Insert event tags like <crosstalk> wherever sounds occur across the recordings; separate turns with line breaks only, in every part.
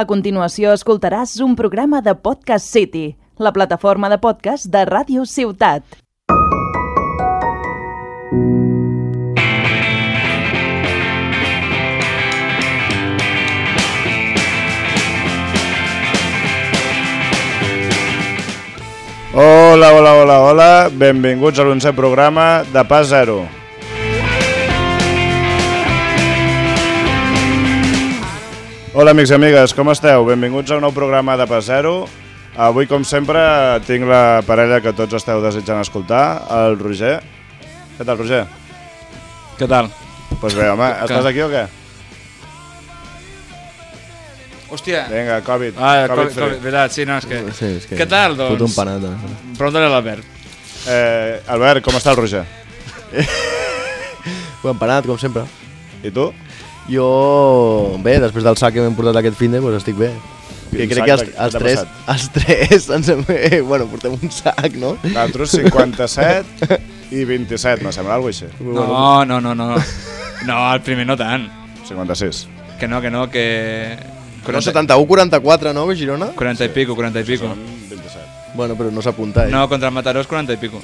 A continuació escoltaràs un programa de Podcast City, la plataforma de podcast de Ràdio Ciutat.
Hola, hola, hola, hola, benvinguts a l'onze programa de Pas Zero. Hola, amics i amigues, com esteu? Benvinguts a un nou programa de Pas Zero. Avui, com sempre, tinc la parella que tots esteu desitjant escoltar, el Roger. Què tal, Roger?
Què tal?
Doncs pues bé, home,
Que-
estàs aquí o què?
Hòstia.
Vinga, Covid.
Ah,
COVID,
Covid, Covid, veritat, sí, no, és que...
Sí, és que...
Què tal,
Fot un eh,
doncs?
panada.
Pregunta-li a l'Albert.
Eh, Albert, com està el Roger?
Un empanat, com sempre.
I tu?
Jo... Bé, després del sac que m'hem portat aquest finde, doncs estic bé.
Quin
Que crec
sac
que els,
de- què
els,
t'ha
tres,
passat?
els tres <laughs> ens hem... eh, Bueno, portem un sac, no?
Nosaltres 57 i 27, me sembla, alguna cosa així.
No, no, no, no. No, el primer no tant.
56.
Que no, que no, que...
No, 71, 44, no, Girona?
40 i pico, 40 i pico.
Són 27.
Bueno, però no s'apunta, eh?
No, contra el Mataró és 40 i pico.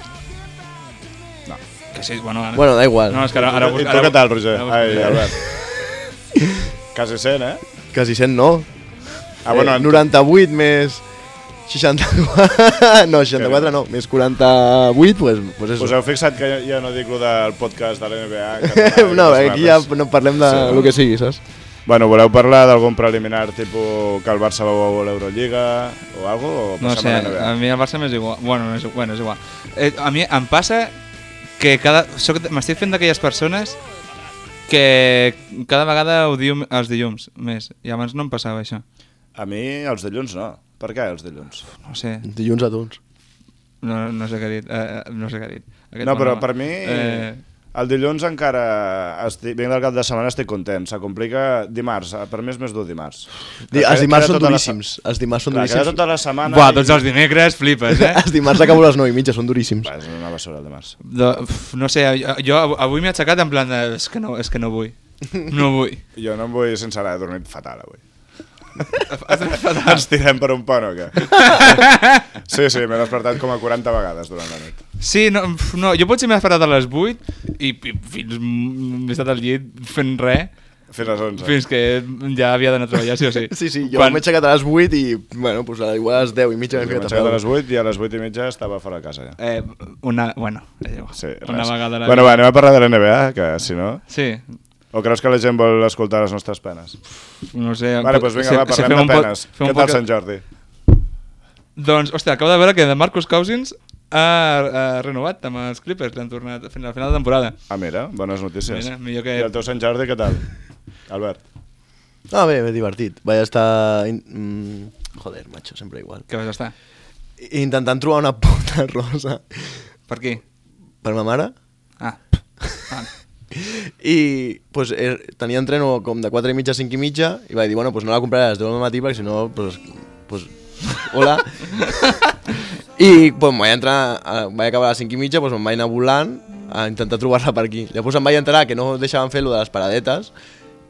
No. Que sí, bueno... ara-
Bueno, da igual.
No, és que ara... ara,
I tu
ara
Eh, què tal, Roger?
ara-
Ai, Albert. Quasi 100, eh?
Quasi 100 no.
Ah, bueno,
eh,
en-
98 més... 64... <laughs> No, 64 no. Més 48, pues, pues eso.
Us heu fixat que ja, ja no dic lo del podcast de
<laughs>
l'NBA?
<laughs> no,
eh,
aquí ja no parlem de sí. lo que sigui, saps?
Bueno, voleu parlar d'algun preliminar, tipus que el Barça va a l'Eurolliga o algo? O
No
passem
sé,
a l'NBA?
a mi el Barça m'és igual. Bueno, no és, bueno, és igual. Eh, a mi em passa que cada... soc- M'estic fent d'aquelles persones que cada vegada odio els dilluns més. I abans no em passava això.
A mi els dilluns no. Per què els dilluns?
No sé,
Dilluns a tons.
no, no sé què ha dit. Eh, no sé què ha dit. Aquest
no, però
home.
per mi... Eh... El dilluns encara, estic, vinc del cap de setmana, estic content. Se complica dimarts, per mi és més dur dimarts.
Di
Queda-
els
queda
dimarts són
tota la se-
duríssims. Els dimarts són
Clar, queda
duríssims.
tota la setmana...
Buah,
i-
tots els dimecres flipes,
<laughs>
<laughs>
eh?
Els dimarts acabo a les 9 i mitja, són duríssims.
Va, és una basura el dimarts.
De, uf, no sé, jo- jo av- avui m'he aixecat en plan de, és que no, és que no vull. No
<laughs>
vull.
Jo no em vull sincerar, he dormit fatal avui. Ens tirem per un pont o
<laughs>
què? Sí, sí, m'he despertat com a 40 vegades durant la nit.
Sí, no, uf, no jo potser m'he esperat a les 8 i, i fins m- he estat al llit fent res
Fins les 11.
fins que ja havia d'anar a treballar, sí o
<laughs>
sí.
Sí, sí, jo Quan... m'he aixecat a les 8 i, bueno, pues, igual a les 10 i mitja m'he
M'he
ficat a
aixecat a
fer.
les 8 i a les 8 i mitja estava fora de casa ja.
Eh, una, bueno, és igual.
Sí,
una
res.
vegada a la
Bueno, va, anem a parlar de la NBA, que si no...
Sí,
O creus que la gent vol escoltar les nostres penes?
no sé...
Vale, doncs vinga, va,
si
parlem
fem
de
un po-
penes.
fem
Què
un
tal
poca-
Sant Jordi?
Doncs, hòstia, acabo de veure que de Marcus Cousins ha, ha renovat amb els Clippers, l'han tornat fins a la final de temporada.
Ah, mira, bones notícies.
Mira, millor que-
I el teu Sant Jordi, què tal? Albert.
Ah, bé, bé, divertit. Vaig estar... In... Mm... Joder, macho, sempre igual.
Que vas estar?
Intentant trobar una <laughs> puta rosa
Per aquí?
per ma mare
Ah. ah.
i pues, eh, tenia entreno com de 4 i mitja a 5 i mitja i vaig dir, bueno, pues no la compraré a les 10 del matí perquè si no, pues, pues hola. I pues, em vaig, entrar, a- vaig acabar a les 5 i mitja, pues, em vaig anar volant a intentar trobar-la per aquí. Llavors em vaig enterar que no deixaven fer lo de les paradetes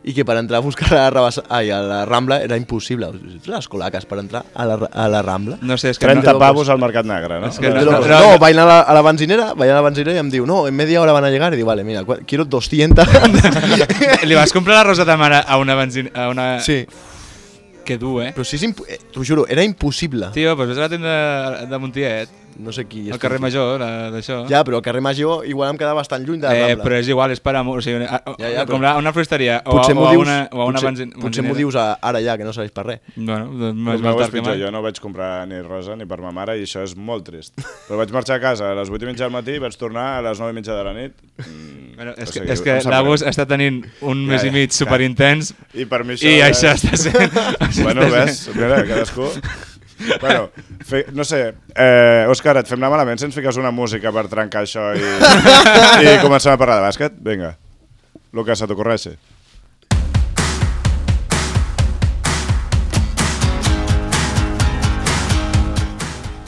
i que per entrar a buscar a la, Rabassa, ai, a la Rambla era impossible. Les colaques per entrar a la, a la Rambla.
No sé, és que...
30
no,
pavos al Mercat Negre, no?
És que
Te
no-
lo
no,
juro. No,
no.
va a ir a la, a la benzinera, va a ir a la benzinera y em diu, no, en media hora van a llegar. Y digo, vale, mira, cua-
<laughs>
quiero 200.
Li vas comprar la rosa de mare a una benzina... A una...
sí,
Que dur, eh?
pero sí es imp... eh, t'ho juro, era imposible.
Tio, doncs vés a la tenda de Montiet,
No sé qui...
al
és
carrer
qui-
Major, la- d'això.
Ja, però al carrer Major igual em quedava bastant lluny de la
Eh,
Rambla.
però és igual, és per amor. O sigui, a, a, ja,
Ja, ja,
ja,
però-
comprar a una floristeria o, a,
potser
o,
m'ho
a
dius,
una, o a una
potser,
benzin,
potser m'ho
benzinera.
dius a, ara ja, que no serveix per res.
Bueno, doncs
El meu
més val
és
tard que
pitjor,
mai.
jo no vaig comprar ni rosa ni per ma mare i això és molt trist. Però vaig marxar a casa a les 8 i mitja del matí i vaig tornar a les 9 i mitja de la nit. Mm,
Bueno, és,
o
que,
sigui,
és que
em sap
l'Abus
greu.
està tenint un
Ja,
mes
ja,
i mig
clar.
superintens
I per mi això...
i
ja és-
això està sent... això
Bueno,
està
ves,
sent-
mira, cadascú... Bueno, fe, no sé, eh, Òscar, et fem anar malament si ens fiques una música per trencar això <laughs> i, i comencem a parlar de bàsquet? Vinga, el que se t'ocorreixi.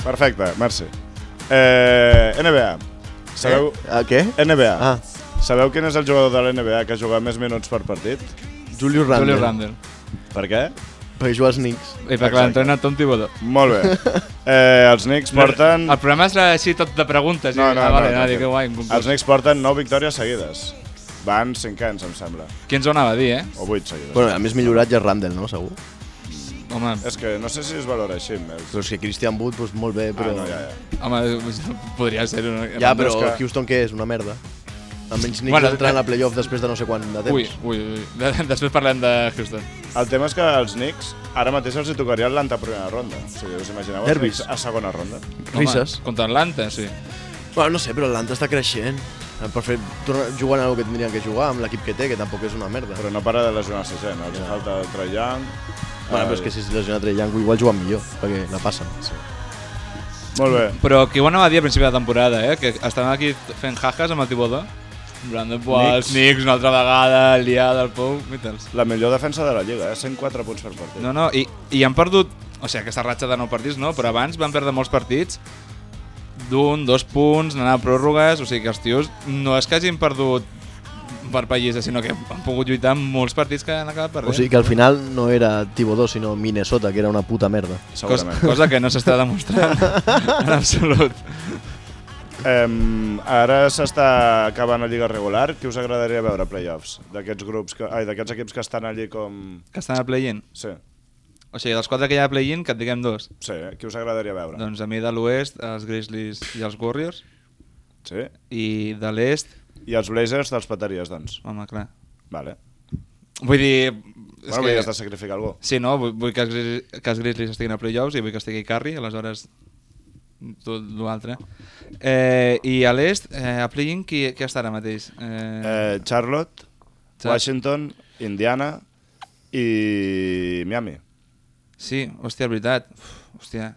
Perfecte, merci. Eh, NBA. Sabeu...
Eh, A què?
NBA.
Ah,
Sabeu quin és el jugador de la NBA que ha jugat més minuts per partit?
Julius Randle.
Julio Randle.
Per què?
perquè juga als Knicks.
I perquè l'entrena Tom Thibodeau.
Molt
<laughs>
bé. Eh, els Knicks porten...
El programa serà així tot de preguntes.
No, no,
ah, vale,
no,
no,
no.
que guai, un
Els
concurs.
Knicks porten 9 victòries seguides. Van 5 anys, em sembla.
Qui ens ho anava a dir, eh?
O 8 seguides.
Bueno, a més millorat ja és Randall, no? Segur.
Home,
És que no sé si es valora així. Els...
Però és que Christian Wood, doncs, molt bé,
Ah,
però...
no, ja, ja.
home <laughs> podria ser... Una...
Ja, però
és que-
Houston què és? Una merda. Almenys Knicks
Bueno,
bueno, entra en
eh,
la playoff després de no sé quant de temps.
Ui, ui, ui. De, <laughs> després parlem de Houston.
El tema és que els Knicks ara mateix els hi tocaria Atlanta a primera ronda. O sigui, us imagineu els
Nervis.
Knicks a segona ronda?
Risses.
Home, contra Atlanta, sí.
Bueno, no sé, però l'Atlanta està creixent. Per fer, tornar, jugant a el que tindrien que jugar amb l'equip que té, que tampoc és una merda.
Però no para de lesionar-se gent. Els hi falta Trae Young...
bueno, però és que si es lesiona Trey Young, igual juguen millor, perquè la passen. Sí.
Molt bé.
Però qui ho anava a dir a principi de temporada, eh? Que estàvem aquí fent jajas amb el Thibodeau. En plan de, buah, els Knicks una altra vegada, liada, el Pou, mitels.
La millor defensa de la Lliga, eh? 104 punts per partit.
No, no, i, i han perdut... O sigui, aquesta ratxa de nou partits no, però abans van perdre molts partits d'un, dos punts, anar a pròrrogues, o sigui que els tios no és que hagin perdut per pallissa, sinó que han pogut lluitar en molts partits que han acabat perdent.
O sigui que al final no era Tibodó, sinó Minnesota, que era una puta merda.
cosa,
Segurament.
cosa que no s'està demostrant <laughs> en absolut.
Em, ara s'està acabant la Lliga regular. Qui us agradaria veure a playoffs? D'aquests grups, que, ai, d'aquests equips que estan allí com...
Que estan a play-in.
Sí,
O sigui, dels quatre que hi ha a play-in, que et diguem dos.
sí, eh? qui us agradaria veure?
Doncs a mi de l'oest, els Grizzlies i els Warriors.
Sí.
I de l'est,
I els Blazers dels pataries, doncs.
home, clar.
Vale.
Vull dir... és
Bueno, que... has de sacrificar algú.
Sí, no? Vull, vull que, els, Grizz- que els Grizzlies estiguin a playoffs i vull que estigui Curry, aleshores tot l'altre. Eh, I a l'est, eh, a play-in, qui, qui està ara mateix?
Eh, Charlotte,
Char-
Washington, Indiana i Miami.
Sí, hòstia, veritat. Uf, hòstia.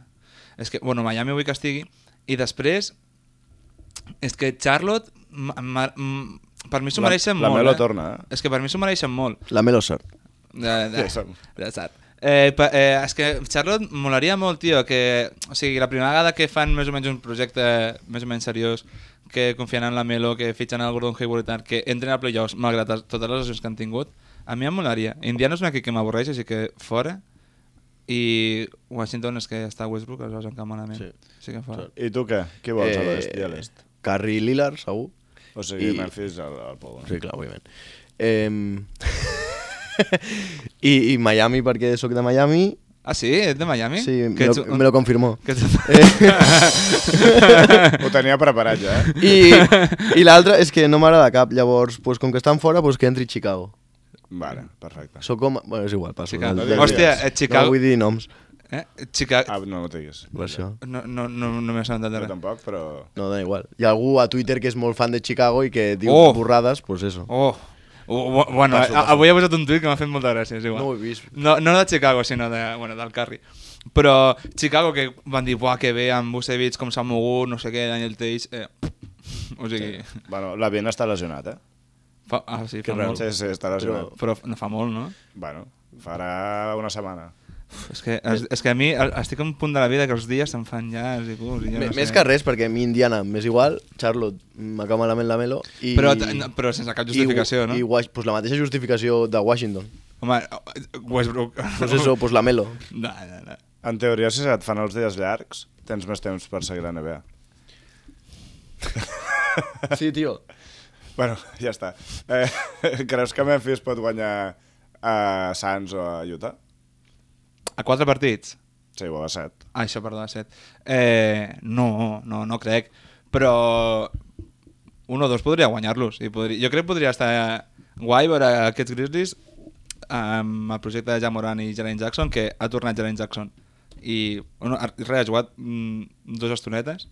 És que, bueno, Miami vull que estigui. I després, és que Charlotte, m- m- m- per mi s'ho
La-
mereixen
la
molt.
Melo
eh?
torna, eh?
És que per mi s'ho mereixen molt.
La Melo Sort.
De, de,
Ja sap.
ja sap. Eh, pa, eh, és que Charlotte molaria molt, tio, que, o sigui, la primera vegada que fan més o menys un projecte més o menys seriós, que confien en la Melo, que fitxen el Gordon Hayward i tal, que entren a playoffs, malgrat els- totes les lesions que han tingut, a mi em molaria. Indiana és un equip que m'avorreix, així que fora. I Washington és que està a Westbrook, aleshores encara malament.
Sí.
Sí. Així que fora.
I tu què? Qui vols a l'est i a l'est?
Carrie Eh, Lillard, segur.
O
Eh,
sigui,
i-
Memphis al, al Pou.
Sí, clar, òbviament. Eh, <laughs> i, I Miami, perquè sóc de Miami.
Ah, sí? Ets de Miami?
Sí,
Que
me
ets
lo,
un-
me lo
<laughs>
confirmó.
que ets-
Ho tenia preparat ja, eh?
I, i l'altra és que no m'agrada cap. Llavors, pues, com que estan fora, pues, que entri Chicago.
Vale, perfecte.
Sóc com... Bueno, és igual, passo.
Chicago.
No,
No
Hòstia,
digues.
eh, Chicago...
No vull dir noms.
<laughs> eh? Chicago...
Ah, no, no ho diguis.
Per això.
No, no, no, no m'he assabentat de
Jo
res.
tampoc, però...
No, da igual. Hi ha algú a Twitter que és molt fan de Chicago i que diu
Oh!
borrades, pues eso.
Oh. Oh, bu- Bueno,
Passo,
a-
passo.
avui he posat un tuit que m'ha fet molta gràcia, és igual.
No ho he vist.
No, no de Chicago, sinó de, bueno, del Curry. Però Chicago, que van dir, buah, que bé, amb Busevich, com s'ha mogut, no sé què, Daniel Teix... Eh, o sigui... Sí.
Bueno, la Viena està lesionat, eh?
Fa, ah, sí, fa molt.
Sí, sí, està lesionat.
Però no fa molt, no?
Bueno, farà una setmana.
Uf, és, que,
eh.
és, és que a mi el- estic en un punt de la vida que els dies se'm fan ja... I, curts, i ja
Me-
no sé.
Més que res, perquè a mi Indiana m'és igual, Charlotte m'acaba malament la Melo i...
Però t- no, però sense cap justificació,
i,
no?
I, Wash- pues la mateixa justificació de Washington.
Home, Westbrook...
Pues eso, pues la Melo.
<laughs> No, no, no.
En teoria, si et fan els dies llargs, tens més temps per seguir la NBA.
<laughs> Sí, tio.
Bueno, <laughs> ja està. Eh, <laughs> creus que Memphis pot guanyar a Sants o a Utah?
A quatre partits?
Sí, o a set.
Ah, això, perdó, de set. Eh, no, no, no crec. Però un o dos podria guanyar-los. i Podria... Jo crec que podria estar guai veure aquests Grizzlies amb el projecte de Jamoran i Jaren Jackson, que ha tornat Jaren Jackson. I bueno, ha- res, ha jugat mm, dues estonetes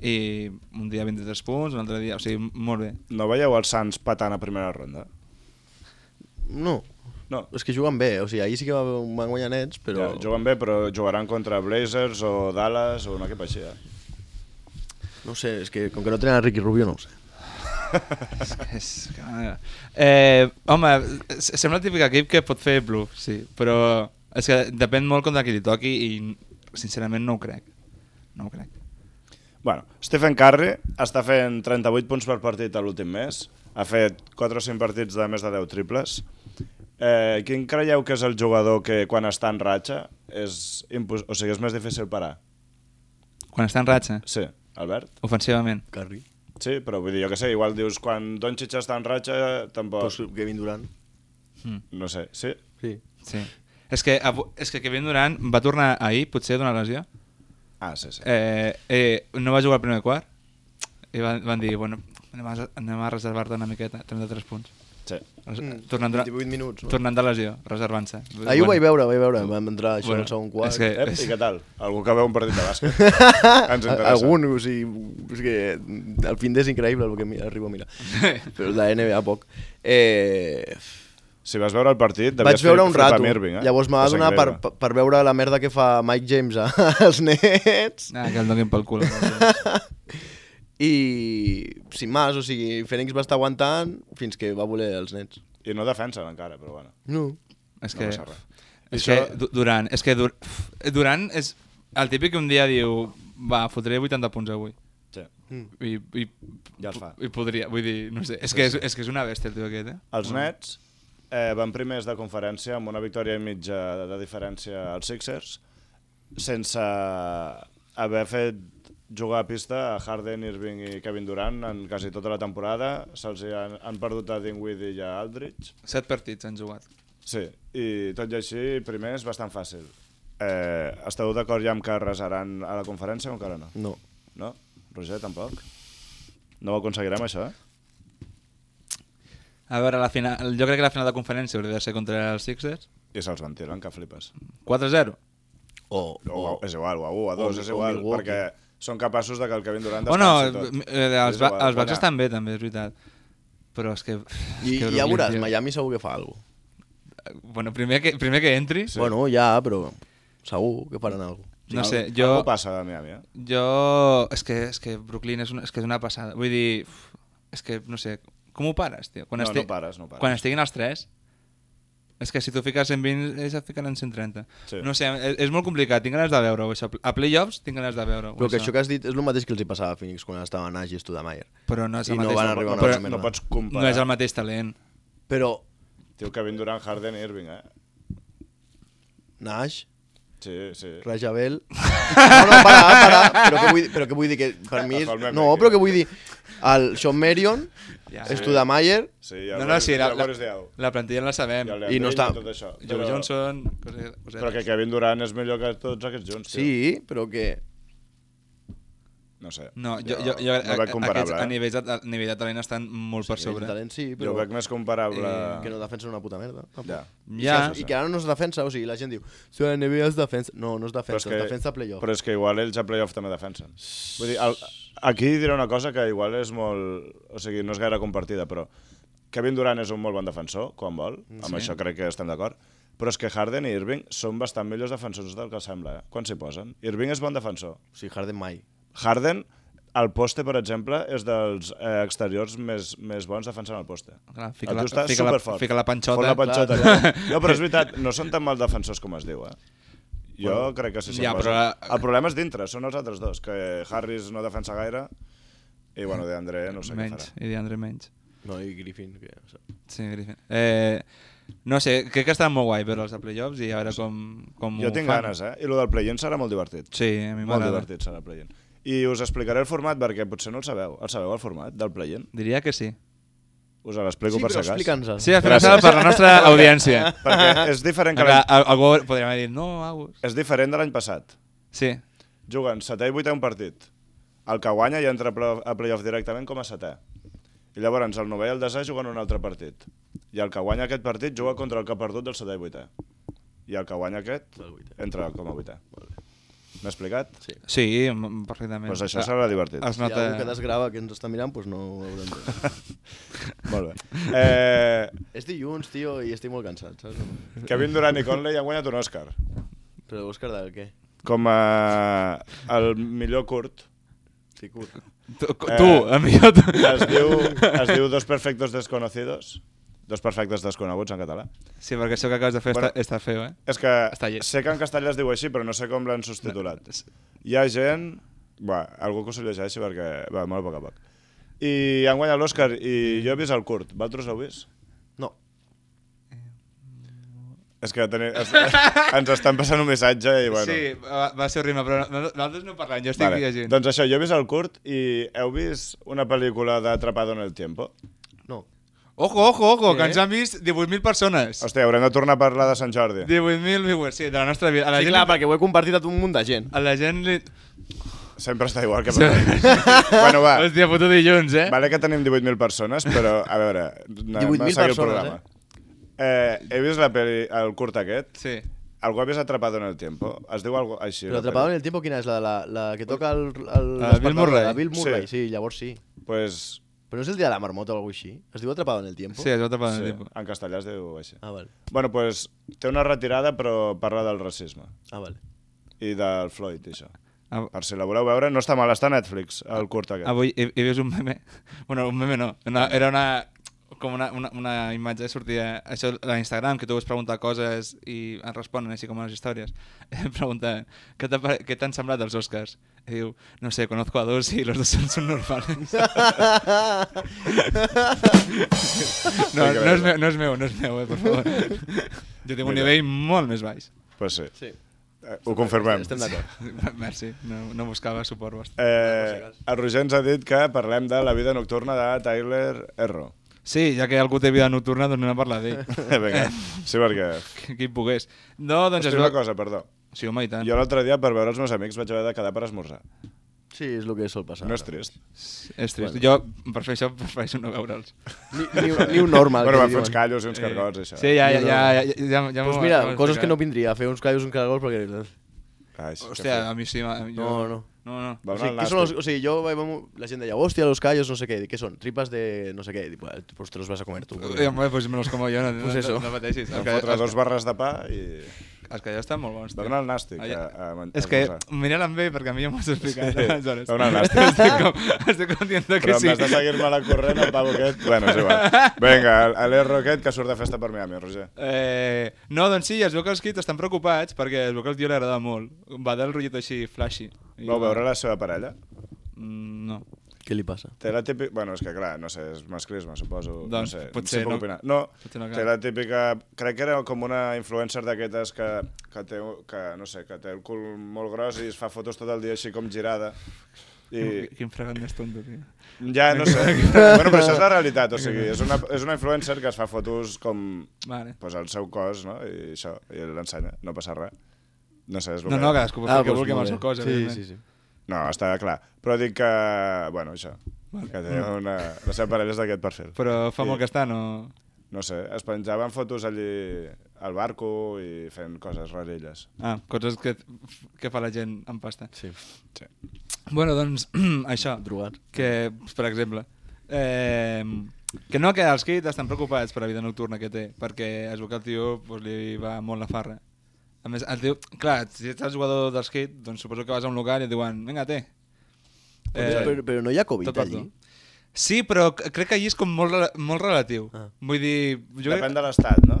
i un dia 23 punts, un altre dia... O sigui, molt bé.
No veieu els Sants patant a primera ronda?
No.
No.
És que juguen bé, o sigui, ahir sí que va- van guanyar nets,
Però...
però...
Ja, juguen bé, però jugaran contra Blazers o Dallas o un equip així, eh?
No sé, és que com que no tenen a Ricky Rubio, no ho sé.
És que és... que- Eh, home, s- sembla el típic equip que pot fer bluff, sí, però és que depèn molt contra qui li toqui i sincerament no ho crec. No ho crec.
Bueno, Stephen Curry està fent 38 punts per partit a l'últim mes. Ha fet 4 o 5 partits de més de 10 triples. Eh, quin creieu que és el jugador que quan està en ratxa és, impos... o sigui, és més difícil parar?
Quan està en ratxa,
Sí, Albert?
ofensivament.
Carri.
Sí, però vull dir, jo que sé, igual dius quan Doncic està en ratxa, tampoc...
Pues Kevin Durant.
Mm,
No sé, sí?
Sí.
sí. És que, avu- és que Kevin Durant va tornar ahir, potser, d'una lesió.
Ah, sí, sí.
Eh, eh, no va jugar al primer quart. I van, van dir, bueno, anem a, anem a reservar-te una miqueta, 33 punts.
sí.
Res-
Mm,
Tornant, de,
28 minuts, no?
tornant de lesió, reservant-se.
Ahir ho vaig veure, vaig veure, vam entrar això
Bueno,
bueno, al segon quart.
és que-
Ep, I què tal? Algú que veu un partit de
<laughs>
bàsquet? Ens interessa.
Algun, o sigui, o sigui, el fin és increïble el que mi- arribo
<laughs>
a mirar. Però la NBA poc. Eh,
Si vas veure el partit, devies
vaig veure un
flipar
rato,
amb Irving, eh?
llavors
Va
m'ha de
ser
donar per,
increïble.
per veure la merda que fa Mike James <laughs> als nets.
Ah, que el donin pel cul.
I sin més, o sigui, Fènix va estar aguantant fins que va voler els nets.
I no defensen encara, però bueno.
No.
és
No
que,
passa res.
és
Això-
que Du- Durant, és que Dur pf, Durant és el típic que un dia diu va, fotré 80 punts avui.
Sí.
I, i,
Ja els fa.
I podria, vull dir, no sé. És que és, és, que és una bèstia el tio aquest, eh?
Els Nets eh, van primers de conferència amb una victòria i mitja de, de diferència als Sixers sense haver fet jugar a pista a Harden, Irving i Kevin Durant en quasi tota la temporada. Se'ls hi han, han perdut a Dinwiddie i a Aldridge.
Set partits han jugat.
Sí, i tot i així, primer és bastant fàcil. Eh, esteu d'acord ja amb que arrasaran a la conferència o encara no?
No.
No? Roger, tampoc? No ho aconseguirem, això, eh?
A veure, la final, jo crec que la final de conferència hauria de ser contra els Sixers.
I se'ls ventilen, que flipes.
4-0.
O,
O,
o,
és igual, o a 1, a 2,
o
és igual,
Milwaukee.
perquè són capaços de que el Kevin Durant
Bueno,
descansi tot.
eh, els,
És
ba
igual,
els Bucks
guanyar.
estan bé, també, és veritat. Però és que...
I,
és que
i ja
Brooklyn,
veuràs,
tio.
Miami segur que fa alguna cosa.
Bueno, primer que, primer que entri,
Sí. Bueno, ja, però segur que faran alguna cosa.
no
Algú-
sé,
Algú
jo...
passa de Miami, eh?
Jo... És que, és que Brooklyn és una, és que és una passada. Vull dir, uf, és que, no sé, com ho pares, tio?
No, no pares, no pares.
Quan estiguin els tres, és que si tu fiques en 20, ells et fiquen en 130.
Sí.
No sé, és, és molt complicat, tinc ganes de veure-ho, això. A playoffs tinc ganes de veure-ho,
Però que això que has dit és el mateix que els hi passava a Phoenix quan estaven a Gisto de Mayer.
Però no és
I
el
no
mateix.
van
no,
arribar a una
però,
mena
No
no.
pots comparar.
no és el mateix talent.
Però
Tio, Kevin Durant, Harden i Irving, eh?
Nash,
Sí, sí.
Rajabel... No, no, para, para, però que vull, però que vull dir que per mi... És...
Agafar el meme,
No,
tio.
però que vull dir... El Sean Marion,
Ja.
ja, Studamayer,
sí
No, no, sí, la, la, la plantilla la sabem.
I, el
I no
Leandrini
està-
Tot això.
Joe Johnson, cose- cosetes.
Però que Kevin Durant és millor que tots aquests junts, tio.
sí, però que...
No sé.
No, jo, jo, jo,
no veig comparable,
aquests, a,
eh?
nivell de, a nivell de talent estan molt per sobre.
Talent, sí,
Jo
però...
veig més comparable...
que no defensen una puta merda. tampoc.
Ja.
Eh, Ja.
I que ara no es defensa, o sigui, la gent diu si la NBA es defensa... No, no es defensa, es defensa playoff.
Però és que igual ells a playoff també defensen. Vull dir, el, aquí diré una cosa que igual és molt... O sigui, no és gaire compartida, però Kevin Durant és un molt bon defensor, quan vol, amb això crec que estem d'acord, però és que Harden i Irving són bastant millors defensors del que sembla, eh? quan s'hi posen. Irving és bon defensor.
O sigui, Harden mai.
Harden, al poste, per exemple, és dels eh, exteriors més, més bons defensant el poste.
Clar, fica
El
la-
tio està
fica la-
superfort.
fica la panxota,
Fot la
clar,
panxota.
<laughs>
clar.
tio. No, però és veritat, no són tan mal defensors com es diu, eh? Jo crec que sí.
ja,
són
però
bons.
la-
El problema és dintre, són els altres dos, que Harris no defensa gaire i, bueno, de André no sé
menys,
què farà.
i DeAndre menys.
No, i Griffin, que... o sigui,
Sí, Griffin. Eh, no sé, crec que estarà molt guai veure-los a playoffs i a veure com, com
Jo
ho
tinc
fan.
ganes, eh? I el del play-in serà molt divertit.
Sí, a mi
molt
m'agrada.
divertit serà el play-in. I us explicaré el format perquè potser no el sabeu. El sabeu, el format del play-in?
Diria que sí.
Us l'explico
sí,
per
però
si cas.
explica'ns
Sí, al final per la
<laughs>
nostra audiència.
Perquè és diferent que
Encara,
l'any
al- algú podria haver dit, no, Agus.
És diferent de l'any passat.
Sí,
Juguen setè i vuitè un partit. El que guanya ja entra a pla- a playoff directament com a setè. I llavors el novè i el desè juguen un altre partit. I el que guanya aquest partit juga contra el que ha perdut del setè i vuitè. I el que guanya aquest
El vuitè.
entra com a vuitè. M'he explicat?
Sí.
sí, m- perfectament. Ah,
Doncs això serà divertit.
Es
Si hi ha algú que
nota...
desgrava que ens està mirant, doncs no ho
<laughs>
haurem de...
Molt bé. Eh,
és dilluns, tio, i estic molt cansat, saps?
Kevin Durant i Conley han guanyat un Òscar.
Però Òscar del què?
Com a el millor curt.
Estic curt.
Tu, tu, a mi jo... Tu.
Eh, Es diu, es diu Dos perfectos desconocidos. Dos perfectes desconeguts en català.
Sí, perquè això que acabes de fer
Bueno.
està, està feo, eh?
És que
Està llest.
sé que en castellà es diu així, però no sé com l'han subtitulat. Hi ha gent... Bé, algú que s'ho llegeixi perquè va molt a poc a poc. I han guanyat l'Òscar i jo he vist el curt. Vosaltres l'heu vist?
No.
És que teni...
<laughs>
es- ens estan passant un missatge i bueno...
Sí, va, va ser horrible, però no- nosaltres no parlem, jo estic
Vale.
llegint.
Doncs això, jo he vist el curt i heu vist una pel·lícula d'Atrapado en el Tiempo?
No.
Ojo, ojo, ojo, que
Sí?
ens han vist 18.000 persones.
Hòstia, haurem de tornar a parlar de Sant Jordi.
18.000 viewers, sí, de la nostra vida. A la
Sí,
gent,
clar, perquè ho he compartit a un munt de gent.
a la gent li...
Sempre està igual
<laughs>
que per Bueno, va.
Hòstia, puto dilluns, eh?
Vale que tenim 18.000 persones, però a veure... anem a
18.000
seguir el
persones,
programa. Eh, he vist la peli, el curt aquest.
Sí.
Algú ha vist Atrapado en el Tiempo? Es diu algo així.
Però
la
atrapado en
peli?
el tiempo, quina és? La, la, la que toca el... el
La Bill Murray.
La Bill Murray,
Sí.
sí. llavors sí.
Pues,
Però no és el dia de la marmota o alguna així? Es diu atrapado en el tiempo?
Sí, es va tapar
sí,
sí. tipus.
en castellà es diu així.
Ah, val.
Bueno, pues, té una retirada, però parla del racisme
Ah,
<laughs>
val.
i del Floyd, i això.
Av-
Per si la voleu veure, no està mal, està a Netflix, el curt aquest.
Avui he, he vist un meme... <laughs> Bueno, un meme no. Una, era una com una, una, una imatge que sortia això a Instagram, que tu vols preguntar coses i et responen així com a les històries. <laughs> Em pregunta, què t'ha pare- què t'han semblat els Oscars? I diu, no sé, conozco a dos i los dos son, son normales.
<laughs>
No,
Hay que
no, és
verlo.
meu, no és meu, no és meu, eh, per
<laughs>
favor. Jo tinc un
Mira.
nivell molt més baix.
Pues sí,
Sí.
eh, ho confirmem.
Estem d'acord.
<laughs> Merci, no, no buscava suport vostre.
Eh, el Roger ens ha dit que parlem de la vida nocturna de Tyler
<laughs>
Erro.
Sí, ja que algú té vida nocturna, doncs anem a parlar d'ell.
<laughs> Vinga, sí, perquè...
Qui- Qui pogués. No, doncs
Doncs
es
una
veu-
cosa, perdó.
Sí, home, i tant.
Jo l'altre dia, per veure els meus amics, vaig haver de quedar per esmorzar.
Sí, és el que sol passar.
No és trist.
És trist. Bueno. Jo, per fer això, <laughs> prefereixo no veure'ls.
Ni, ni, ni un normal.
bueno,
que
van
li
fer uns
diuen.
callos i uns cargots, això. eh?
Sí, ja, ja,
No, no.
ja, ja, ja, ja, ja
Doncs
m'ho-
mira,
ja m'ho
coses que no
explicarà.
vindria a fer uns callos, uns cargols, perquè...
Ai, sí, que
Hòstia,
fe-
a mi sí. A, jo...
No, no.
No, no.
Va donar
O sigui,
el
què són els,
nàstic.
o sigui, jo vaig, vam- la gent deia, hòstia, los callos, no sé què, I dic, què són? Tripas de no sé què, I dic, "Bueno, pues te los vas a comer tu.
Eh, home, doncs me los como jo, no,
Pues
no,
eso.
no, no pateixis.
Em
Els que,
fotre dos
els,
barres de pa i...
els que ja estan molt bons.
Va
tio.
donar el nàstic
Ah, ja.
a- a man-
És que
esmorzar.
mira-la amb ell, perquè a mi ja m'ho has explicat.
Sí,
aleshores.
va donar
<laughs>
el nàstic.
Estic com, estic com dient <laughs> que
Però
sí.
m'has de seguir-me la corrent, el pavo aquest... Bueno, és
<laughs>
igual. Vinga, el- a l'Erro aquest que surt de festa per Miami, Roger.
Eh, no, doncs sí, es veu que els kids estan preocupats perquè es veu que el tio li agradava molt. Va del rotllet així, flashy. I-
Vau veure la seva parella?
Mm, No.
Què li passa?
Té la típica... Bueno, és que clar, no sé, és masclisme, suposo.
Doncs,
no sé,
potser
sí puc
no-
opinar. No,
potser no cal.
té la típica... Crec que era com una influencer d'aquestes que, que, té, que, no sé, que té el cul molt gros i es fa fotos tot el dia així com girada.
<laughs>
I
Quin fregant més tonto, tio.
ja, no
<laughs>
sé. bueno, però això és la realitat, o sigui, és una, és una influencer que es fa fotos com
Vale.
pues, el seu cos, no? I això, i l'ensenya, no passa res. No sé, és el
No,
que...
no, cadascú pot fer el que
doncs
vulgui amb
molt
el seu
bé.
cos, evidentment.
Sí, sí, sí.
no, està clar. Però dic que, bueno, això, que té una... La seva parella és d'aquest perfil.
Però fa
I-
molt que està, no...
no sé, es penjaven fotos allí al barco i fent coses rarelles.
Ah, coses que, que fa la gent amb pasta.
Sí.
Sí.
Bueno, doncs, <clears throat> això.
Drogat.
Que, per exemple, eh, que no, que els kids estan preocupats per la vida nocturna que té, perquè es veu que el tio pues, li va molt la farra. A més, el tio, clar, si ets el jugador dels kids, doncs suposo que vas a un local i et diuen, vinga, té. Eh,
Però, però, però no hi ha Covid
toca
allí? <laughs>
tu. Sí, però c- crec que allí és com molt, rela- molt relatiu.
Ah.
Vull dir... Jo crec-
Depèn de l'estat, no?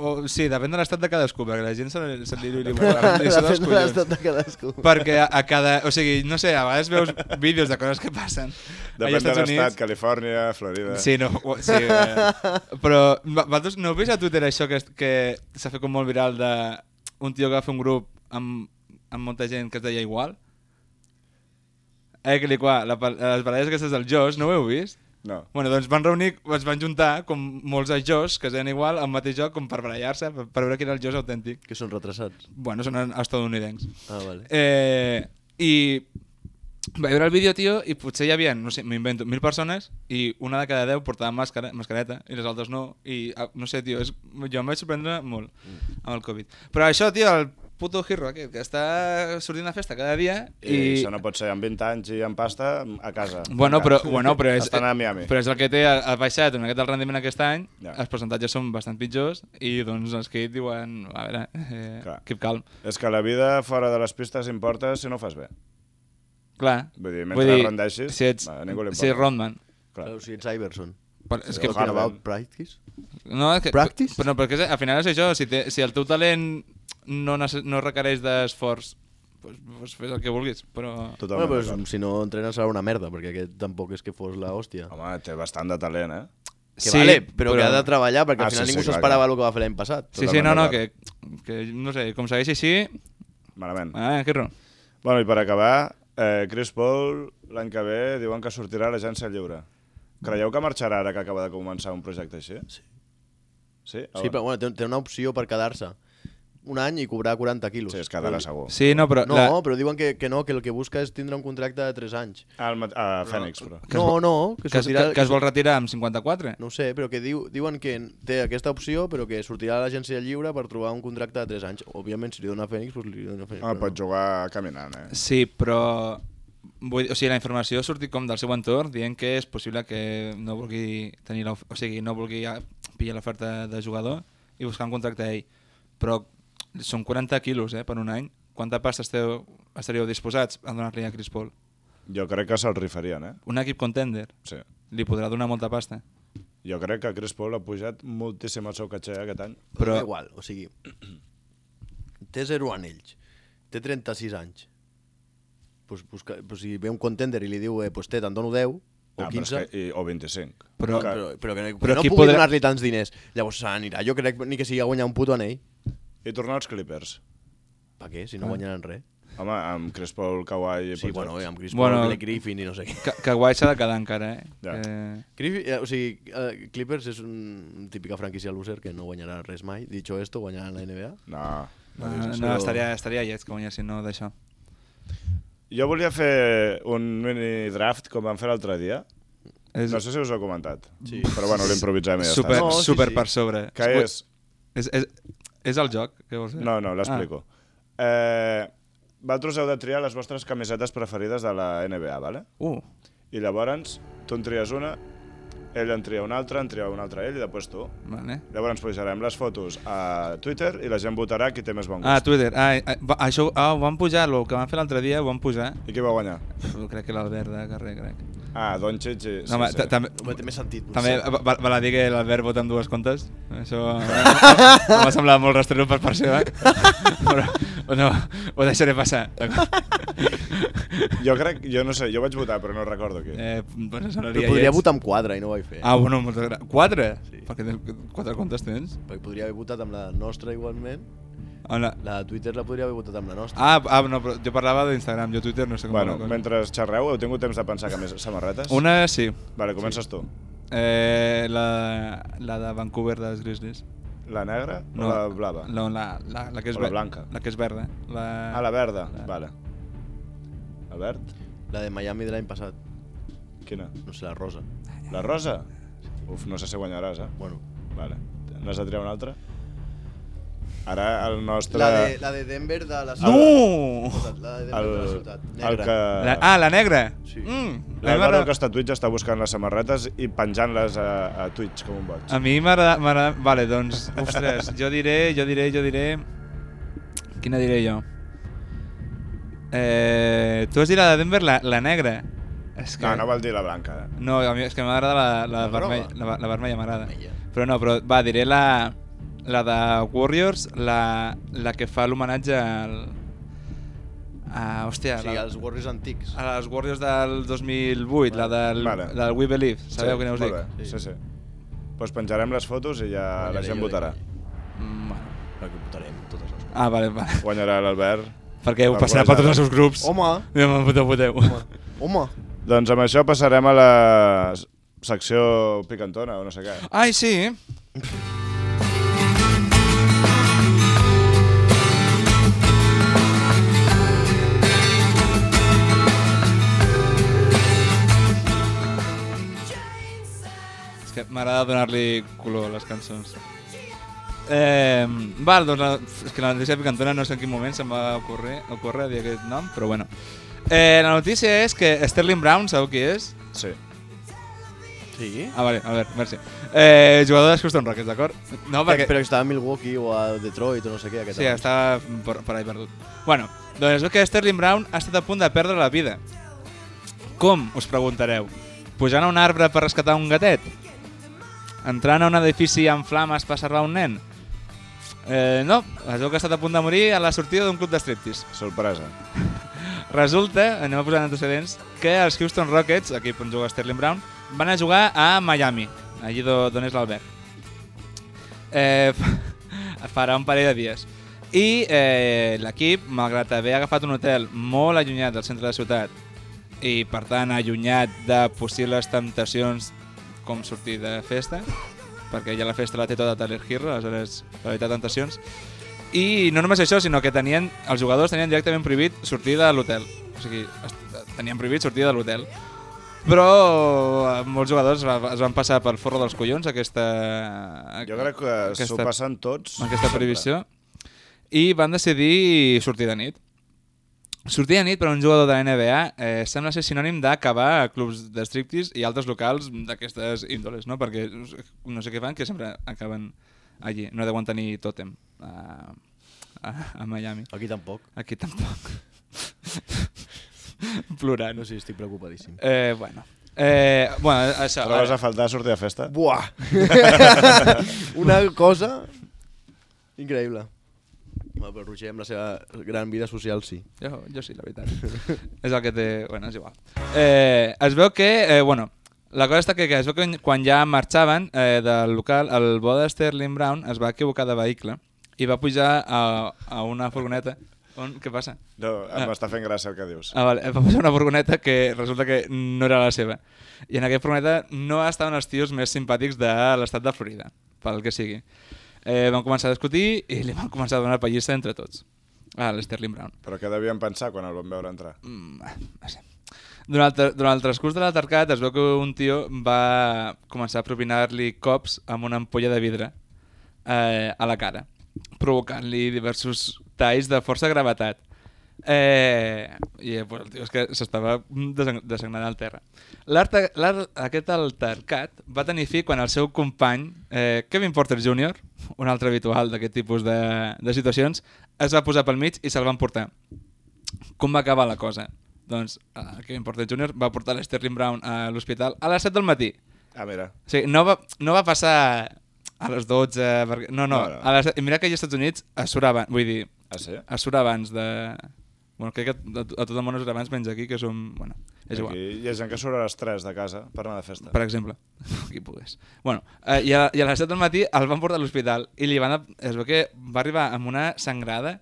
O, sí, depèn de l'estat de cadascú, perquè la gent se, li- se
<laughs>
li diu li
La
dels
pena
collons.
l'estat de cadascú.
Perquè a, a cada... O sigui, no sé, a vegades veus vídeos de coses que passen.
Depèn de l'estat, Califòrnia, Florida...
Sí, no, o- sí, eh, però va- vosaltres no heu vist a Twitter això que, es- que s'ha fet com molt viral de un tio que va fer un grup amb, amb molta gent que es deia igual? Eh, que li qua, la, pa- les baralles aquestes del Josh, no ho heu vist?
No.
Bueno, doncs van reunir, es van juntar com molts ajors que es deien igual al mateix joc com per barallar-se, per, per veure quin era el Josh autèntic.
Que són retrasats.
Bueno, són estadounidencs.
Ah, vale.
Eh, I vaig veure el vídeo, tio, i potser hi havia, no sé, m'invento, mil persones i una de cada deu portava màscara, mascareta i les altres no. I ah, no sé, tio, és, jo em vaig sorprendre molt amb el Covid. Però això, tio, el puto hero aquest que està sortint a festa cada dia
I, I
i...
Eh, això no pot ser amb 20 anys i amb pasta a casa.
Bueno,
<laughs>
però, bueno, però és,
Estan a Miami.
però és el que té, ha ha baixat una miqueta el rendiment aquest any,
Ja.
ja. els percentatges són bastant pitjors i doncs els que diuen, a veure, eh,
Clar.
keep calm.
És que la vida fora de les pistes importa si no ho fas bé.
Clar.
Vull dir, mentre rendeixis,
si ets,
a ningú li importa.
si ets Rodman.
Clar.
Clar, o sigui, ets Iverson.
Per, és
Sí,
que,
o Harden.
about practice?
no, és que,
Practice?
Però, perquè és, al final és això, si, te, si el teu talent no, nece- no requereix d'esforç, doncs, doncs fes el que vulguis, però...
Totalment
Bueno, però és-
d'acord.
si no entrenes serà una merda, perquè aquest tampoc és que fos la hòstia.
Home, té bastant de talent, eh?
Que
Sí,
vale, però, que
però-
ha de tota treballar, perquè
Ah,
al final
sí, sí,
ningú
clar,
s'esperava
clar.
el que va fer l'any passat.
Sí, sí,
Totalment
no, no,
d'acord.
que, que no sé, com segueix així...
Malament.
Ah, que ron.
Bueno, i per acabar, eh, Chris Paul l'any que ve diuen que sortirà a l'agència lliure. Creieu que marxarà ara que acaba de començar un projecte així? Sí. Sí? Ah,
Sí, però bueno, té, té una opció per quedar-se. Un any i cobrar 40 quilos.
Sí, es quedarà
Però-
segur.
Sí, no, però...
No,
la...
però diuen que, que no, que el que busca és tindre un contracte de 3 anys.
Al mat- a Fènix, però.
Que es
no,
vol-
no, que
que, es, que,
sortirà...
que es vol retirar amb 54?
No ho sé, però que diu, diuen que té aquesta opció, però que sortirà a l'agència lliure per trobar un contracte de 3 anys. Òbviament, si li dona a Fènix, doncs li dona a Fènix.
Ah,
però
pot jugar caminant, eh?
Sí, però... Vull, dir- o sigui, la informació ha sortit com del seu entorn, dient que és possible que no vulgui tenir la, o sigui, no vulgui ah, pillar l'oferta de jugador i buscar un contracte a ell. Però són 40 quilos eh, per un any. Quanta pasta esteu, estaríeu disposats a donar-li a Chris Paul?
Jo crec que se'l rifarien, eh?
Un equip contender
Sí.
li podrà donar molta pasta.
Jo crec que Chris Paul ha pujat moltíssim el seu catxer aquest any.
però...
però-
Da igual, o sigui... Té 0 anells, té 36 anys. Pues, busca, pues, si ve un contender i li diu, eh, pues té, te'n dono 10 o
Ah, però
15...
és que, i, o 25.
Però-
que,
però, però que no,
Però
però no
qui
pugui
podrà-
donar-li tants diners. Llavors se n'anirà, jo crec, ni que sigui a guanyar un puto anell.
I tornar als Clippers.
Per què? Si no guanyaran res.
Home, amb Chris Paul, Kawhi... i
Sí,
Paul
bueno,
George.
eh, amb Chris Paul,
Bueno.
bueno, Griffin i no sé què.
Ka Kawhi s'ha de quedar encara, eh?
Ja.
Eh,
Griffin, eh, o sigui, eh, Clippers és un típica franquícia loser que no guanyarà res mai. Dicho esto, guanyaran la NBA.
No.
no,
dius,
eh, no,
però-
estaria, estaria lleig que guanyessin no d'això.
Jo volia fer un mini draft com vam fer l'altre dia.
És
No sé si us ho he comentat.
Sí.
Però bueno, l'improvisem i ja
super,
està.
No,
no,
sí,
super
sí.
per sobre.
Que
Vull-
és...
És, és, és el joc, què vols dir?
No, no, l'explico. Ah. Eh, vosaltres heu de triar les vostres camisetes preferides de la NBA, vale?
Ah. Uh,
I llavors, tu en tries una, ell en tria una altra, en tria una altra ell i després tu.
vale.
Llavors pujarem les fotos a Twitter i la gent votarà qui té més bon gust.
Ah, Twitter. Ah, eh, va- això ah, ho van pujar, el que van fer l'altre dia ho van pujar.
I qui va guanyar?
Pff, crec que l'Albert de carrer, crec.
Ah, Doncic i...
No, home, ta- tam-
Home, té més sentit. no
també eh,
sé.
va- va- val a dir que l'Albert vota amb dues comptes.
<laughs>
Això eh, m'ha semblat molt rastrero per part seva. <laughs> Però, o no, ho deixaré passar. d'acord?
Jo crec, jo no sé, jo vaig votar però no recordo qui.
Eh, pues em
Però
sonaria
podria
lleig.
votar amb quadre i no ho vaig fer.
Ah, bueno, moltes gràcies. Quatre?
Sí.
Sí. Perquè tens- quatre comptes tens?
Perquè podria haver votat amb la nostra igualment.
Hola.
La de Twitter la podria haver votat amb la nostra.
Ah, ah, no, però jo parlava d'Instagram, jo Twitter no sé com
Bueno,
va la cosa.
mentre xerreu, heu tingut temps de pensar que més samarretes?
Una sí.
Vale, comences tu.
Eh, la, la de Vancouver dels Grizzlies.
La negra o la blava?
No, la, la, la que és
O la
ver-
blanca.
La que és verda. eh? La...
Ah, la verda, vale. Albert?
La de Miami de l'any passat.
Quina?
No sé, la rosa.
La rosa? Uf, no sé si guanyaràs, eh?
Bueno.
Vale. N'has de triar una altra? Ara el nostre...
La de, la de Denver de la ciutat.
No!
La de Denver
el,
de la ciutat.
el
Negra.
que...
La, ah, la negra?
Sí.
Mm, a mi
L'Alvaro
m'agrada-
que està a Twitch està buscant les samarretes i penjant-les a, a Twitch com un boig.
a mi m'agrada... m'agrada- Vale, doncs, ostres, jo diré, jo diré, jo diré... Quina diré jo? Eh, tu has dit la de Denver, la, la negra. És que...
No, no vol dir la blanca. eh?
No, a mi és que m'agrada la, la,
La groga?
vermella, la, la vermella m'agrada.
Vermella.
Però no, però va, diré la, la de Warriors, la, la que fa l'homenatge al... A, hòstia,
O sigui,
la,
els Warriors antics.
a les Warriors del 2008, la del,
Vale.
del We Believe, sabeu què us
molt
dic?
Bé.
Sí.
Sí, sí. Doncs penjarem les fotos i ja la
Guanyaré
gent
eh?
jo,
votarà.
guanyaré.
Mm, bueno.
Perquè votarem totes les coses.
ah, vale, <laughs> vale.
Guanyarà l'Albert.
Perquè ho
Alguna
passarà per
jada.
tots els seus grups.
Home!
Ja me'n Voteu, voteu.
Home!
Doncs amb això passarem a la s- secció picantona o no sé què.
Ai, sí. És que m'agrada donar-li color a les cançons. Eh, val, doncs la, és que la notícia picantona no sé en quin moment se'm va ocórrer, ocórrer dir aquest nom, però bueno. Eh, la notícia és que Sterling Brown, sabeu qui és?
Sí.
Sí?
Ah, vale, a ver, merci. Eh, jugador dels Houston Rockets, d'acord? No, perquè...
Però que estava a Milwaukee o a Detroit o no sé què. Aquest
Sí,
any.
estava per, per ahí perdut. Bueno, doncs es veu que Sterling Brown ha estat a punt de perdre la vida. Com, us preguntareu? Pujant a un arbre per rescatar un gatet? Entrant a un edifici amb flames per salvar un nen? Eh, no, es veu que ha estat a punt de morir a la sortida d'un club de striptease.
Sorpresa.
Resulta, eh, anem a posar en antecedents, que els Houston Rockets, equip on juga Sterling Brown, van a jugar a Miami. allí do- d'on és l'Albert. Eh, fa- <laughs> farà un parell de dies. I eh, l'equip, malgrat haver agafat un hotel molt allunyat del centre de la ciutat i, per tant, allunyat de possibles temptacions com sortir de festa, perquè ja la festa la té tota Tyler Hero, aleshores va evitar temptacions, i no només això, sinó que tenien, els jugadors tenien directament prohibit sortir de l'hotel. O sigui, est- tenien prohibit sortir de l'hotel. Però eh, molts jugadors va- es van passar pel forro dels collons aquesta...
Jo crec que s'ho passen tots.
Aquesta prohibició. I van decidir sortir de nit. Sortir de nit per a un jugador de la NBA eh, sembla ser sinònim d'acabar a clubs de striptease i altres locals d'aquestes índoles, no? Perquè no sé què fan, que sempre acaben allí. No deuen tenir tòtem a, a, a Miami.
Aquí tampoc.
Aquí tampoc. <laughs> Plorant.
No sé, estic preocupadíssim.
Eh, bueno. Eh, bueno, això...
Trobes a faltar sortir de festa?
Buah! <laughs> Una cosa increïble. Home, però Roger, amb la seva gran vida social, sí.
Jo, jo sí, la veritat. <laughs> és el que té... Bueno, és igual. Eh, es veu que... Eh, bueno, la cosa està que, que es veu que quan ja marxaven eh, del local, el bo de Sterling Brown es va equivocar de vehicle i va pujar a, a una furgoneta. On, què passa?
No, em està fent gràcia el que dius.
Ah, vale. Va pujar a una furgoneta que resulta que no era la seva. I en aquesta furgoneta no estaven els tios més simpàtics de l'estat de Florida, pel que sigui. Eh, van començar a discutir i li van començar a donar pallissa entre tots. A l'Sterling Brown.
Però què devien pensar quan el van veure entrar?
Mm, no sé. Durant, el- durant el transcurs de l'atercat es veu que un tio va començar a propinar-li cops amb una ampolla de vidre eh, a la cara, provocant-li diversos talls de força gravetat. Eh, I eh, pues, el tio és que s'estava desen- desagnant al terra. L'arte- l'ar- Aquest altercat va tenir fi quan el seu company, eh, Kevin Porter Jr., un altre habitual d'aquest tipus de, de situacions, es va posar pel mig i se'l va emportar com va acabar la cosa? Doncs el Kevin Porter Jr. va portar l'Sterling Brown a l'hospital a les 7 del matí.
Ah, mira.
O sigui, no va, no va passar a les 12... Perquè... No, no.
No, no.
A les... i Mira que allà als Estats Units a surt abans, vull dir,
Ah, sí?
a surt abans de... Bueno, crec que a, a tot el món és abans, menys aquí, que som... Bueno, és igual.
Aquí hi ha gent que surt a les 3 de casa per anar de festa.
Per exemple. <laughs> Qui pogués. Bueno, eh, i, a, I a les 7 del matí el van portar a l'hospital i li van... a- Es veu que va arribar amb una sangrada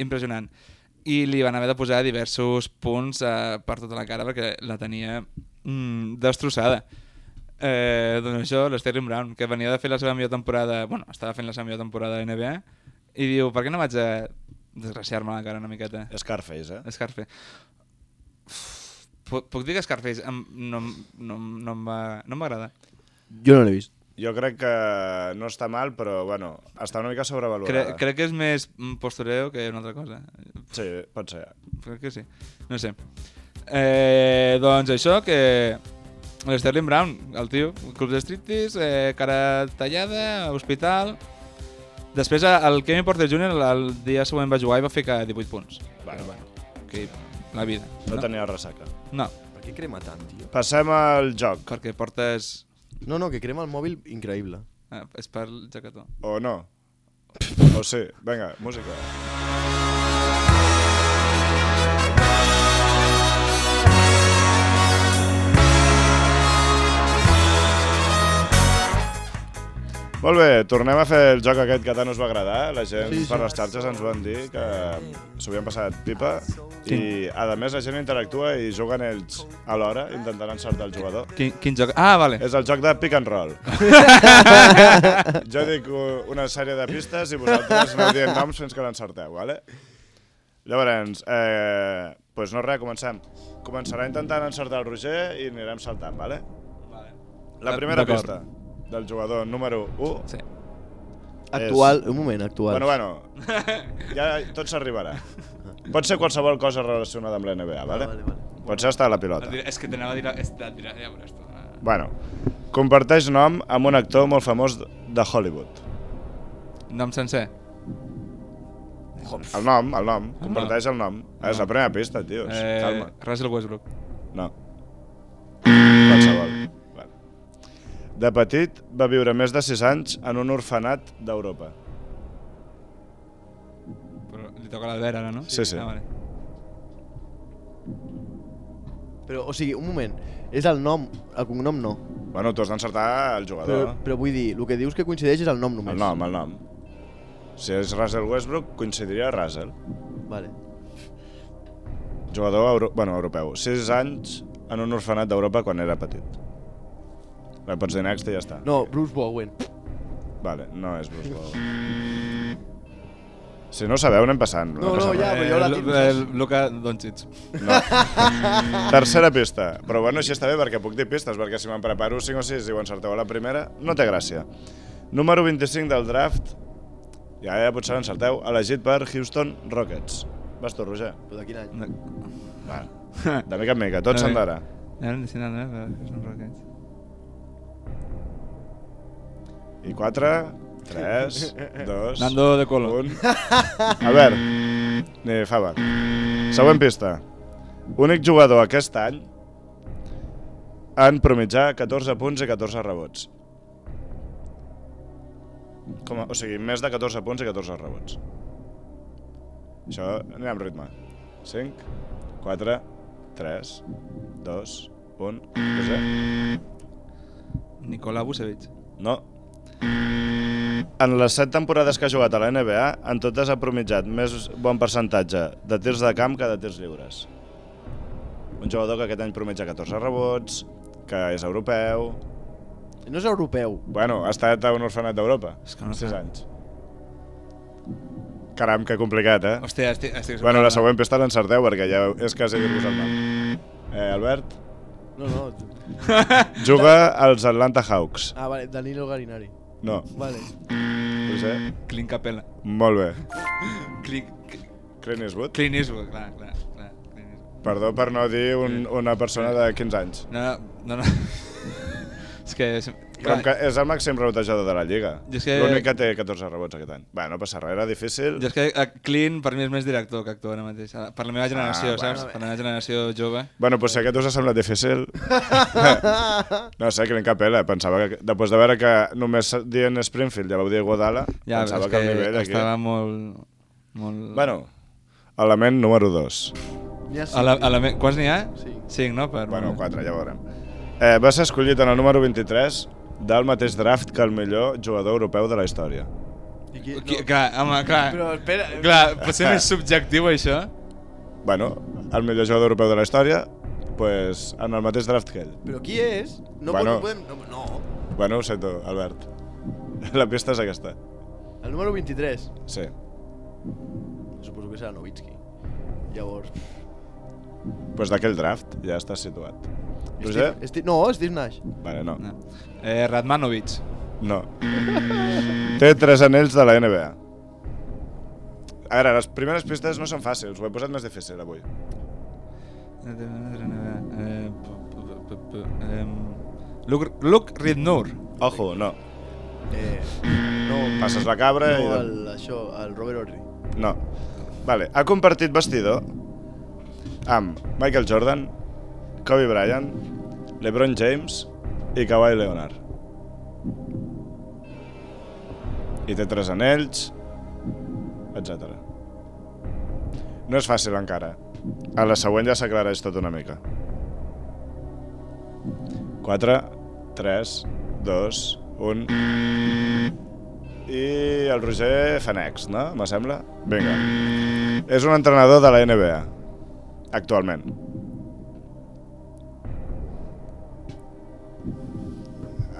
impressionant i li van haver de posar diversos punts eh, per tota la cara perquè la tenia mm, destrossada. Eh, doncs això, l'Sterling Brown, que venia de fer la seva millor temporada... Bueno, estava fent la seva millor temporada de NBA i diu, per què no vaig a desgraciar-me la cara una miqueta?
Scarface, eh?
Scarface. Puc, puc dir que Scarface em, no, em- no, em- no, em va- no m'agrada.
Jo no l'he vist.
Jo crec que no està mal, però bueno, està una mica
Cre,
sobrevalorada.
crec que és més mm, postureo que una altra cosa.
Sí, pot ser.
Crec que sí. No sé. Eh, doncs això, que l'Sterling Brown, el tio, clubs de striptease, eh, cara tallada, hospital... Després eh, el Kevin Porter Jr. el dia següent va jugar i va ficar 18 punts.
Bueno, bueno,
Que la vida.
no tenia ressaca.
No,
Per què crema tant, tio?
Passem al joc,
perquè portes...
No, no, que crema el mòbil, increïble.
eh, És per el jaquetó.
o no? O sí, vinga, música. Molt bé, tornem a fer el joc aquest que tant us va agradar. La gent sí, sí. per les xarxes ens van dir que s'ho havien passat pipa sí. i, a més, la gent interactua i juguen ells alhora intentant encertar el jugador.
Quin, quin joc? Ah, vale.
És el joc de pick and roll. jo dic u- una sèrie de pistes i vosaltres no dient noms fins que l'encerteu, vale? Llavors, eh, pues no res, comencem. Començarà intentant encertar el Roger i anirem saltant, vale? La
Ah,
primera
d'acord.
pista del jugador número 1.
Sí.
Actual, un moment, actual.
Bueno, bueno, ja tot s'arribarà. Pot ser qualsevol cosa relacionada amb la NBA, vale?
vale, vale.
Pot ser estar a la pilota.
És que t'anava a dir... És, dirà, ja veuràs tu.
Bueno, comparteix nom amb un actor molt famós de Hollywood.
Nom sencer.
El nom, el nom. Comparteix el nom. És la primera pista, tios. Eh...
Eh,
Calma.
Russell Westbrook.
No. Qualsevol. Vale. De petit va viure més de 6 anys en un orfenat d'Europa.
Però li toca l'Albert ara, no?
Sí, sí.
Ah, vale.
Però, o sigui, un moment. És el nom, el cognom no.
Bueno, tu has d'encertar el
Però,
jugador.
però vull dir, el que dius que coincideix és el nom només.
eh? El nom, el nom. Si és Russell Westbrook, coincidiria Russell.
Vale.
Jugador euro... bueno, europeu. 6 anys en un orfenat d'Europa quan era petit. La pots dir next i ja està.
No, Bruce Bowen.
Vale, no és Bruce Bowen. Si no ho sabeu, anem passant.
No, no,
passa
ja,
res.
però jo la
Eh,
tinc.
el- el Luka Doncic. <laughs>
<laughs> Tercera pista. Però bueno, així està bé perquè puc dir pistes, perquè si me'n preparo 5 o 6 i ho encerteu a la primera, no té gràcia. Número 25 del draft, ja, ja potser l'encerteu, elegit per Houston Rockets. Vas tu, Roger.
Però de quin any?
No.
Va. De mica en mica, tot
A
s'han
veure.
d'ara.
Ara no sé nada, eh, però són Rockets.
I 4, 3, 2,
Nando de Colo.
1... A veure, ni fava. Següent pista. Únic jugador aquest any en promitjar 14 punts i 14 rebots. Com a, o sigui, més de 14 punts i 14 rebots. Això anem amb ritme. 5, 4, 3, 2, 1... Roser.
Nicola Vucevic.
No. En les set temporades que ha jugat a la NBA, en totes ha promitjat més bon percentatge de tirs de camp que de tirs lliures. Un jugador que aquest any prometja 14 rebots, que és europeu...
No és europeu.
Bueno, ha estat a un orfenat d'Europa.
És que no
sis
sé.
anys. Caram, que complicat, eh?
Hòstia, estic... estic
Bueno, la següent pista l'encerteu, perquè ja és quasi dir-vos el nom.
Mm.
Eh, Albert,
No, no.
<laughs>
juga als Atlanta Hawks.
Ah, vale, Danilo Garinari.
No,
Vale.
no sé.
Clint Capella.
Molt bé.
Clint...
Clint Eastwood.
Clint Eastwood, clar, clar, clar. Clint Eastwood.
Perdó per no dir un, una persona de 15 anys.
No, no, <laughs> no. és que... És,
Com que és el màxim rebotejador de la Lliga.
Jo és que-
L'únic que té 14 rebots aquest any. Bé, no passa res, era difícil.
Jo és que eh, Clint per mi és més director que actor ara mateix. Ara, Per la meva
Ah,
generació, ah, saps?
bueno.
Per la meva generació jove.
Bueno, doncs si aquest us ha semblat
<laughs>
difícil... no sé, Clint Capella. Pensava que, després de veure que només dient Springfield ja vau dir Godala,
Ja,
pensava
és
que, el nivell aquí...
estava molt... molt...
Bueno, element número 2.
Ja
A la, a la me... Quants n'hi ha?
Cinc.
Cinc, no? Per...
Bueno, 4, ja veurem. Eh, va ser escollit en el número 23 del mateix draft que el millor jugador europeu de la història.
I qui,
Qui, clar, home, clar.
Però espera... eh,
Clar, pot ser
<laughs>
més subjectiu, això?
Bueno, el millor jugador europeu de la història, pues, en el mateix draft que ell.
Però qui és? No
Bueno.
bueno. podem... No, no.
Bueno, ho sento, Albert. <laughs> La pista és aquesta.
El número 23.
Sí.
Suposo que serà Novitski. Llavors...
Pues d'aquell draft ja està situat. Roger?
Steve, Steve, no, Steve Nash.
Vale, no.
No. Eh, Radmanovic.
No. Té tres anells de la NBA. A veure, les primeres pistes no són fàcils, ho he posat més difícil avui.
Eh, p- p- p- p- em, Luke, Luke
<laughs>
Ridnour.
Ojo, no.
Eh, no,
Passes la cabra
no,
i...
el, això, el Robert Horry.
No. Vale, ha compartit vestidor amb Michael Jordan, Kobe Bryant, LeBron James i Kawhi Leonard. I té tres anells, etc. No és fàcil encara. A la següent ja s'aclareix tot una mica. 4, 3, 2, 1... I el Roger Fanex, no? Me sembla? Vinga. És un entrenador de la NBA. Actualment.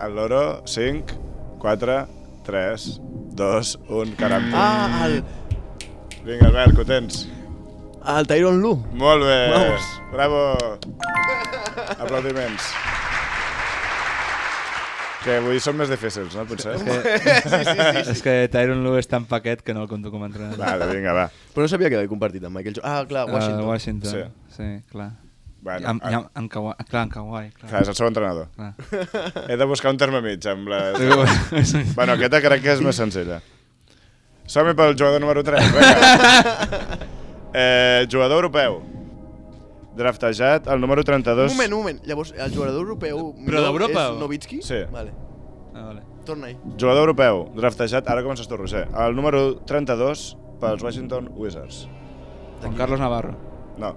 El Loro, 5, 4, 3, 2, 1, caram.
Ah, el,
Vinga, Albert, que ho tens.
el Tyron Lu.
Molt bé.
Vamos.
Bravo. Aplaudiments. Que avui són més difícils, no? Potser.
<laughs> És que Tyron Lue és tan paquet que no el compto com a entrenador.
<laughs> Vale, vinga, va.
Però no sabia que havia compartit amb Michael Jordan. Ah, clar, Washington.
Uh, Washington.
Sí.
Sí. sí, clar.
Bueno,
Bueno, amb,
ah.
amb, amb Kawhi, clar, amb Kawhi, clar.
Clar, és el seu entrenador. <laughs>
clar.
He de buscar un terme mig amb les...
bueno,
bueno, aquesta crec que és més senzilla. Som-hi pel jugador número 3, vinga. Eh, jugador europeu. Draftejat, el número
Un
32...
moment, un moment. Llavors, el jugador europeu...
Però
no
d'Europa, o?
És Novitski?
Sí.
Vale.
ah, vale.
Torna-hi.
Jugador europeu, draftejat, ara comences tu, Roger. El número 32 pels Washington Wizards.
Juan Carlos Navarro.
No,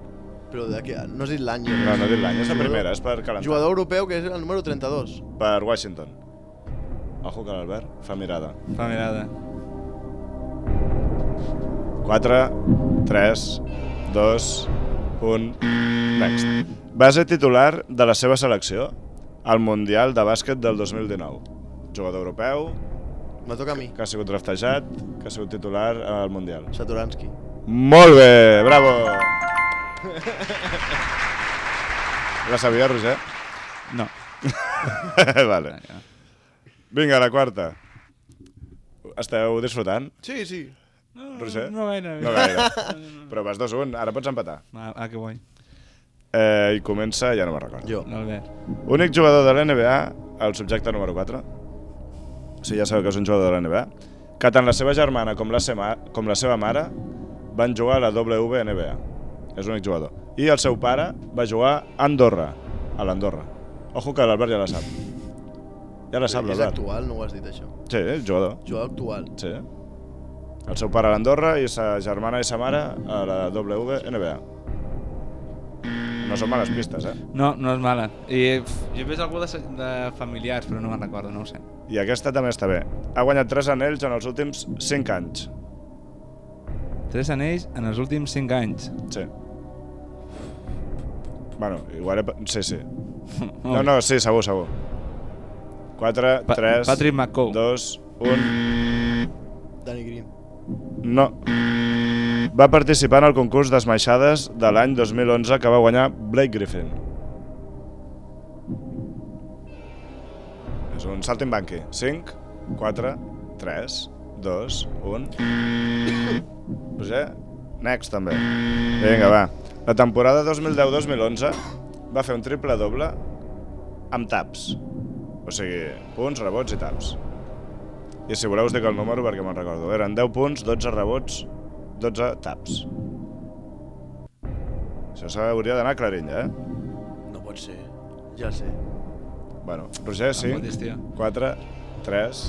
Però de què? No has dit l'any.
No, no he dit l'any, és la primera, és per calentar.
Jugador europeu que és el número 32.
Per Washington. Ojo que l'Albert fa mirada.
Fa mirada.
4, 3, 2, 1, next. Va ser titular de la seva selecció al Mundial de Bàsquet del 2019. Jugador europeu,
Me toca a mi.
que ha sigut draftejat, que ha sigut titular al Mundial.
Saturanski.
Molt bé, bravo! La sabia, Roger?
No.
<laughs> vale. Vinga, la quarta. Esteu disfrutant,
Sí, sí.
Roger?
No gaire.
No gaire. <laughs> Però vas 2-1, ara pots empatar.
Ah, ah, que boi.
Eh, I comença, ja no me'n recordo.
Jo.
L'Albert.
Únic jugador de l'NBA, el subjecte número 4. Sí, ja sabeu que és un jugador de l'NBA. Que tant la seva germana com la, seva, com la seva mare van jugar a la WNBA. És l'únic jugador. I el seu pare va jugar a Andorra, a l'Andorra. Ojo que l'Albert ja la sap. Ja la sap,
és
l'Albert.
actual, no ho has dit això.
Sí, és jugador.
Jugador actual.
Sí. El seu pare a l'Andorra i sa germana i sa mare a la WNBA. No són males pistes, eh?
No, no és mala. I pff, jo he vist algú de, se- de familiars, però no me'n recordo, no ho sé.
I aquesta també està bé. Ha guanyat 3 anells en els últims 5 anys.
Tres anells en els últims cinc anys.
Sí. Bueno, igual... he pa- Sí, sí. No, no, sí, segur, segur. 4,
Pa-
3,
Patrick McCoy.
2, 1...
Danny Green.
No. Va participar en el concurs d'esmaixades de l'any 2011 que va guanyar Blake Griffin. És un salt en banqui. 5, 4, 3, 2, 1... Roger, next també. Vinga, va. La temporada 2010-2011 va fer un triple doble amb taps. O sigui, punts, rebots i taps. I si voleu us dic el número perquè me'n recordo. Eren 10 punts, 12 rebots, 12 taps. Això s'hauria d'anar aclarint, ja, eh?
No pot ser. Ja sé.
Bueno, Roger,
fotis, Ah, tio.
5, 4, 3,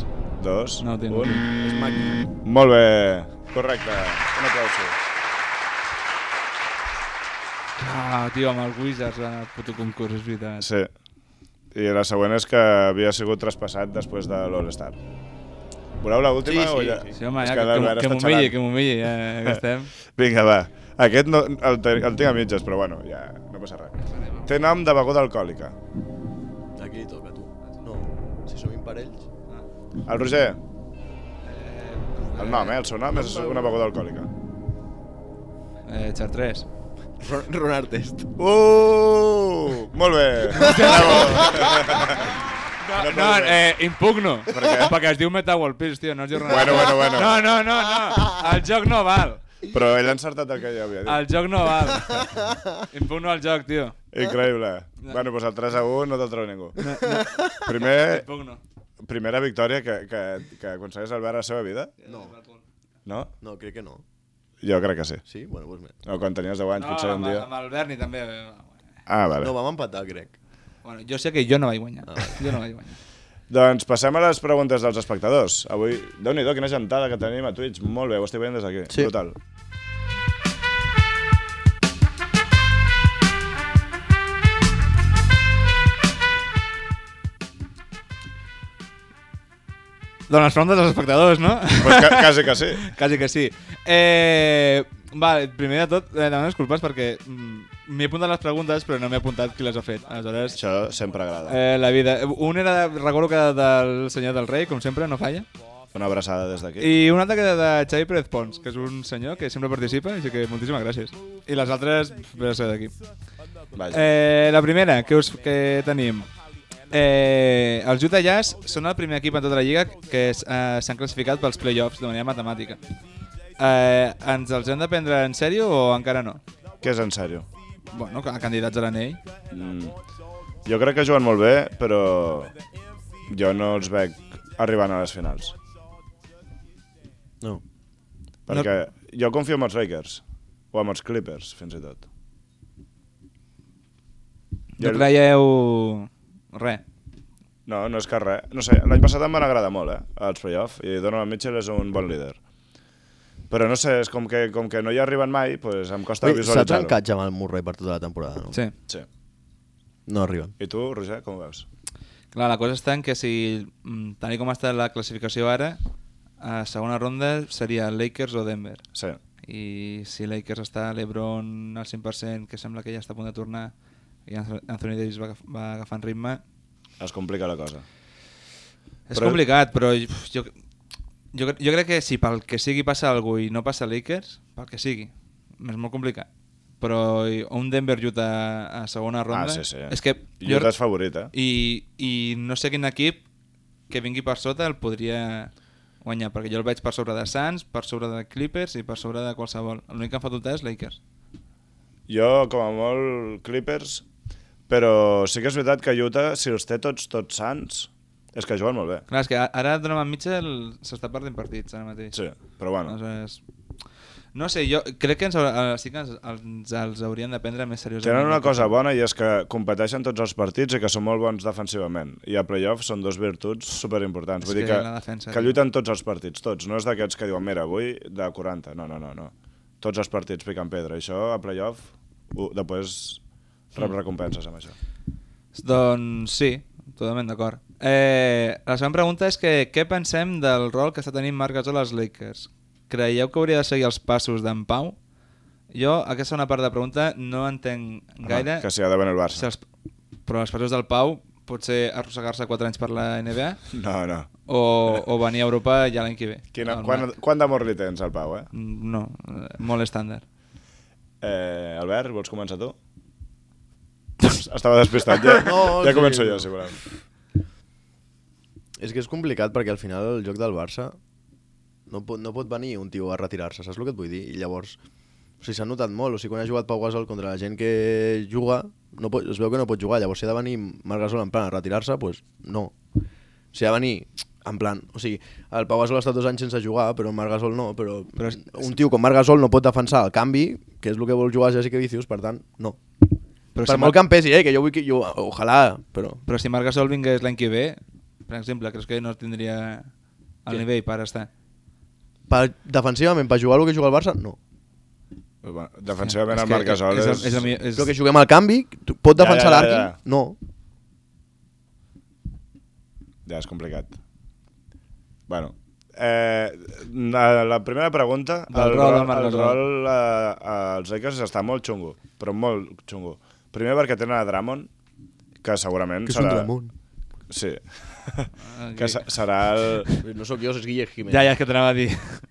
2,
No ho tinc, no
1...
ho tinc.
És màquina.
Molt bé, correcte. Un aplauso.
Ah, tio, amb el Wizards va el puto concurs, és veritat.
Sí. I la següent és que havia sigut traspassat després de l'All-Star. Voleu l'última?
Sí, sí,
o ja...
sí.
Sí, home,
És
ja,
que
que, que,
l'Albert
que
està
m'humilli,
xalant.
que m'humilli, ja,
<laughs>
ja estem.
Vinga, va. Aquest no, el, te- el tinc a mitges, però bueno, ja no passa res. Té nom de beguda alcohòlica.
Aquí li toca, tu. No. Si som imparells.
El Roger, el nom, eh? El seu nom és una beguda alcohòlica.
Eh, Chartres.
Ron, Ron Artest.
Uh! Molt
<laughs>
bé! Bravo!
No,
No,
no,
no,
eh, impugno. Per
què?
Perquè es diu Metawall Pills, tio, no es diu res.
Bueno, bueno, bueno.
No, no, no, no.
<laughs>
El joc no val.
Però ell ha encertat el que ja havia dit.
El joc no val. Impugno el joc, tio.
Increïble. Bueno, doncs el 3 a 1 no te'l treu ningú. Primer,
Impugno.
primera victòria que, que, que aconsegueix Albert a la seva vida?
No.
No?
No, crec que no.
Jo crec que sí.
Sí? Bueno, doncs mira.
O quan tenies 10 anys,
No,
potser un
amb,
dia.
amb el Berni també. eh,
Ah, vale.
No, vam empatar, crec.
Bueno, jo sé que jo no vaig guanyar. Jo no vaig guanyar.
Doncs passem a les preguntes dels espectadors. Avui, déu-n'hi-do, quina gentada que tenim a Twitch. Molt bé, ho estic veient des d'aquí.
Sí.
Brutal.
Doncs les preguntes dels espectadors, no?
Pues ca quasi que sí.
Quasi que sí. Eh, vale, primer de tot, eh, demano disculpes perquè mm, m'he apuntat les preguntes però no m'he apuntat qui les ha fet. Aleshores,
Això sempre agrada.
eh, la vida. Un era, recordo que del senyor del rei, com sempre, no falla.
Una abraçada des d'aquí.
I un altre que era de Xavi Pérez Pons, que és un senyor que sempre participa, així que moltíssimes gràcies. I les altres, per ser d'aquí.
Vaja.
Eh, la primera, que, us, que tenim. Eh, els Utah Jazz són el primer equip en tota la lliga que s- eh, s'han classificat pels playoffs de manera matemàtica. Eh, ens els hem de prendre en sèrio o encara no?
Què és en sèrio?
Bueno, ca- candidats a l'anell.
Mm. Jo crec que juguen molt bé, però jo no els veig arribant a les finals.
No.
Perquè jo confio en els Lakers, o en els Clippers, fins i tot.
No
Jo-
creieu... Res.
No, no és que res. No sé, l'any passat em van agradar molt, eh, els playoff, i Donovan Mitchell és un bon líder. Però no sé, és com que, com que no hi arriben mai, pues em costa
Ui, S'ha
visualitzar-ho.
trencat Jamal Murray per tota la temporada, no?
Sí.
Sí.
No arriben.
I tu, Roger, com ho veus?
Clar, la cosa està en que si, mm, tal i com està la classificació ara, a segona ronda seria Lakers o Denver.
Sí.
I si Lakers està l'Ebron al 100%, que sembla que ja està a punt de tornar, i Anth- Anthony Davis va, agaf- va agafant ritme,
Es complica la cosa.
és
Però-
però... complicat, però uf, jo, jo, cre- jo crec que si pel que sigui passa algú i no passa Lakers, pel que sigui, és molt complicat. Però i- un Denver-Utah a segona ronda...
Ah, sí, sí.
És que
jo... Utah és favorit, eh?
I, i no sé quin equip que vingui per sota el podria guanyar, perquè jo el veig per sobre de Suns, per sobre de Clippers i per sobre de qualsevol. L'únic que em fa dubtar és Lakers.
Jo, com a molt, Clippers, però sí que és veritat que Utah, si els té tots, tots sants, és que juguen molt bé.
Clar, és que a- ara Donovan Mitchell s'està perdent partits ara mateix.
Sí, però bueno.
Aleshores, no sé, jo crec que ens, haurà- eh, sí que ens, ens els haurien de prendre més seriosament.
Tenen una cosa bona i és que competeixen tots els partits i que són molt bons defensivament. I a playoff són dos virtuts superimportants.
És
Vull dir
que
que,
la defensa,
que
tio.
lluiten tots els partits, tots. No és d'aquests que diuen, mira, avui de 40. No, no, no. no. Tots els partits piquen pedra. Això a playoff, u- després rep
Mm.
recompenses amb això.
Doncs sí, totalment d'acord. Eh, la segona pregunta és que què pensem del rol que està tenint Marc Gasol als Lakers? Creieu que hauria de seguir els passos d'en Pau? Jo, aquesta segona part de pregunta, no entenc gaire...
Home, que si ha de venir el
si
Barça.
els, però els passos del Pau potser arrossegar-se 4 anys per la NBA
No, no.
o, o venir a Europa ja l'any que ve.
Quina,
Al
quan,
Marc.
quan d'amor li tens al Pau, eh?
No, eh, molt estàndard.
Eh, Albert, vols començar
<laughs>
tu? Estava despistat, ja,
No,
ja
sí.
començo jo, si voleu.
És que és complicat perquè al final el joc del Barça no pot, no pot venir un tio a retirar-se, saps el que et vull dir? I llavors, o sigui, s'ha notat molt, o sigui, quan ha jugat Pau Gasol contra la gent que juga, no pot, es veu que no pot jugar, llavors si ha de venir Marc Gasol en plan a retirar-se, doncs pues, no. Si ha de venir en plan, o sigui, el Pau Gasol ha estat dos anys sense jugar, però Marc Gasol no, però,
Però
però
és-
és... un tio com Marc Gasol no pot defensar el canvi, que és el que vol jugar Jessica Vicius, per tant, no. Però per
si Marc-
molt que em pesi, eh, que jo vull que... Jo, ojalà, però...
Però si Marc Gasol vingués l'any que ve, per exemple, creus que no tindria el nivell per estar?
Per, defensivament, per jugar el que juga el Barça, no.
Bueno, defensivament
És
el
que
Marc Gasol és...
és, el- és, el millor- és,
Però que juguem al canvi, tu- pot
Ja,
defensar
ja, ja,
l'arc?
ja.
No.
Ja és complicat. Bueno, eh, la, la primera pregunta,
Del rol del Marc
el
Gasol.
rol eh, als Lakers està molt xungo, però molt xungo. Primer perquè tenen a Dramon, que segurament serà... Sí,
Ah,
que se- serà el...
No sóc jo, és Guille Jiménez.
Ja, ja, és que t'anava a dir.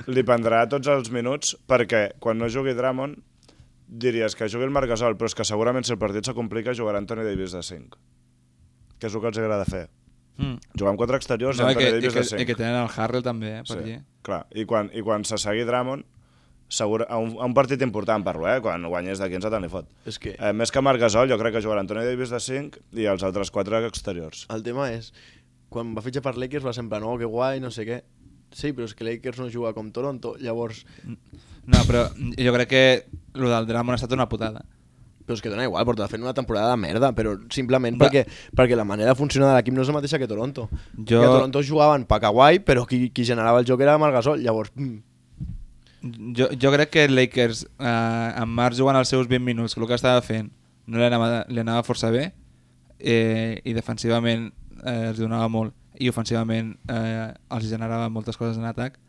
Li prendrà tots els minuts perquè quan no jugui Dramon diries que jugui el Marc Gasol, però és que segurament si el partit se complica jugarà Anthony Davis de 5. Que és el que els agrada fer.
Mm.
Jugar amb quatre exteriors
No,
i
i, que,
Anthony
i,
Davis
que,
de 5.
I que tenen el Harrell també, eh, per sí. allí.
Clar, i quan, i quan se segui Dramon, segur, a, un, a un partit important parlo, eh? quan guanyes de 15 te n'hi fot.
És que
Eh, més que Marc Gasol, jo crec que jugarà Anthony Davis de 5 i els altres 4 exteriors.
el tema és, quan va fitxar per Lakers va ser en plan, oh, que guai, no sé què. Sí, però és que Lakers no juga com Toronto, llavors...
Mm. No, però jo crec que el del Dramon ha estat una putada.
Però és que dona igual, porta fent una temporada de merda, però simplement
Va.
perquè, perquè la manera de funcionar de l'equip no és la mateixa que Toronto.
Jo-
Jo... Que a Toronto jugaven pa que guai, però qui, qui generava el joc era Marc Gasol, llavors... Mm,
Jo, jo crec que Lakers, eh, en Marc jugant els seus 20 minuts, que el que estava fent no li anava, li anava força bé, eh, i defensivament eh, els donava molt, i ofensivament eh, els generava moltes coses en atac,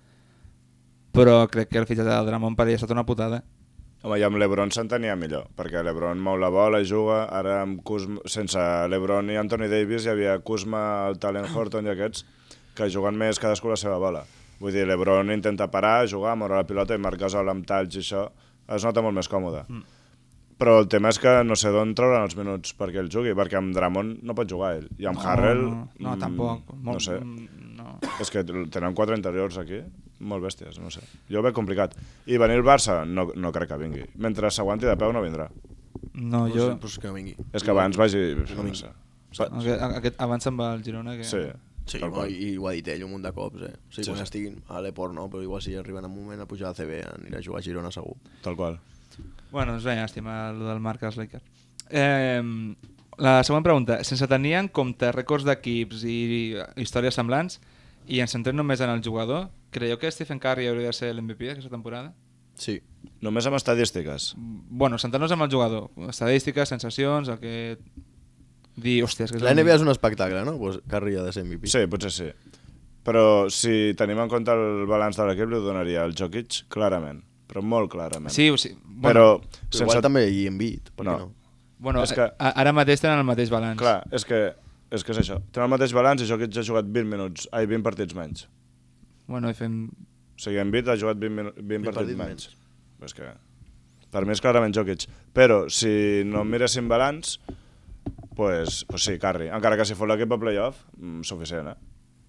però crec que el fitxatge del Dramon per ell ha estat una putada.
Home, i amb l'Ebron s'entenia millor, perquè l'Ebron mou la bola i juga, ara amb Kuzma, sense l'Ebron i Anthony Davis hi havia Kuzma, el Talent Horton i aquests, que juguen més cadascú la seva bola. Vull dir, l'Ebron intenta parar, jugar, moure la pilota i marcar sol amb talls i això, es nota molt més còmode. Mm. Però el tema és que no sé d'on trauran els minuts perquè ell jugui, perquè amb Dramon no pot jugar ell, i amb Harrell...
No, no, no
mm,
tampoc. Molt,
No sé.
No.
És que tenen quatre interiors aquí, molt bèsties, no sé. Jo ho veig complicat. I venir el Barça, no, no crec que vingui. Mentre s'aguanti de peu no vindrà.
No, jo...
Però és que no vingui.
És que abans vagi... No sé. Pa-
Aquest, aquest, abans amb el Girona que...
Sí.
Sí,
tal qual.
i, i ho ha dit ell un munt de cops, eh? O sigui,
Sí,
sí, quan
sí.
estiguin a l'Eport no, però igual si arriben en un moment doncs a pujar a CB anirà a jugar a Girona segur.
Tal qual.
Bueno, és una llàstima el del Marc als Lakers. Eh, la següent pregunta. Sense tenir en compte rècords d'equips i històries semblants i ens centrem només en el jugador, Creieu que Stephen Curry hauria de ser l'MVP d'aquesta temporada?
Sí.
Només amb estadístiques.
Bueno, sentant-nos amb el jugador. Estadístiques, sensacions, el que... Dir, hòstia, és que...
La NBA és un espectacle, no? Pues Curry ha de ser MVP.
Sí, potser sí. Però si tenim en compte el balanç de l'equip, li ho donaria al Jokic clarament, però molt clarament.
Sí, o sigui,
bueno,
bueno,
però,
Sense... Igual també i Embiid, per
No.
què no?
Bueno,
és
és
que-
que... ara mateix tenen el mateix balanç.
Clar, és que, és que és això. Tenen el mateix balanç i Jokic ha jugat 20 minuts, ai, 20 partits menys.
Bueno, i fem...
O sigui, Embiid ha jugat 20, minu- 20, 20 partits
partits
menys. Però és que, per mi és clarament Jokic. Però si no em miréssim balanç, pues, pues sí, Carri. Encara que si fos l'equip a playoff, mm, suficient, eh?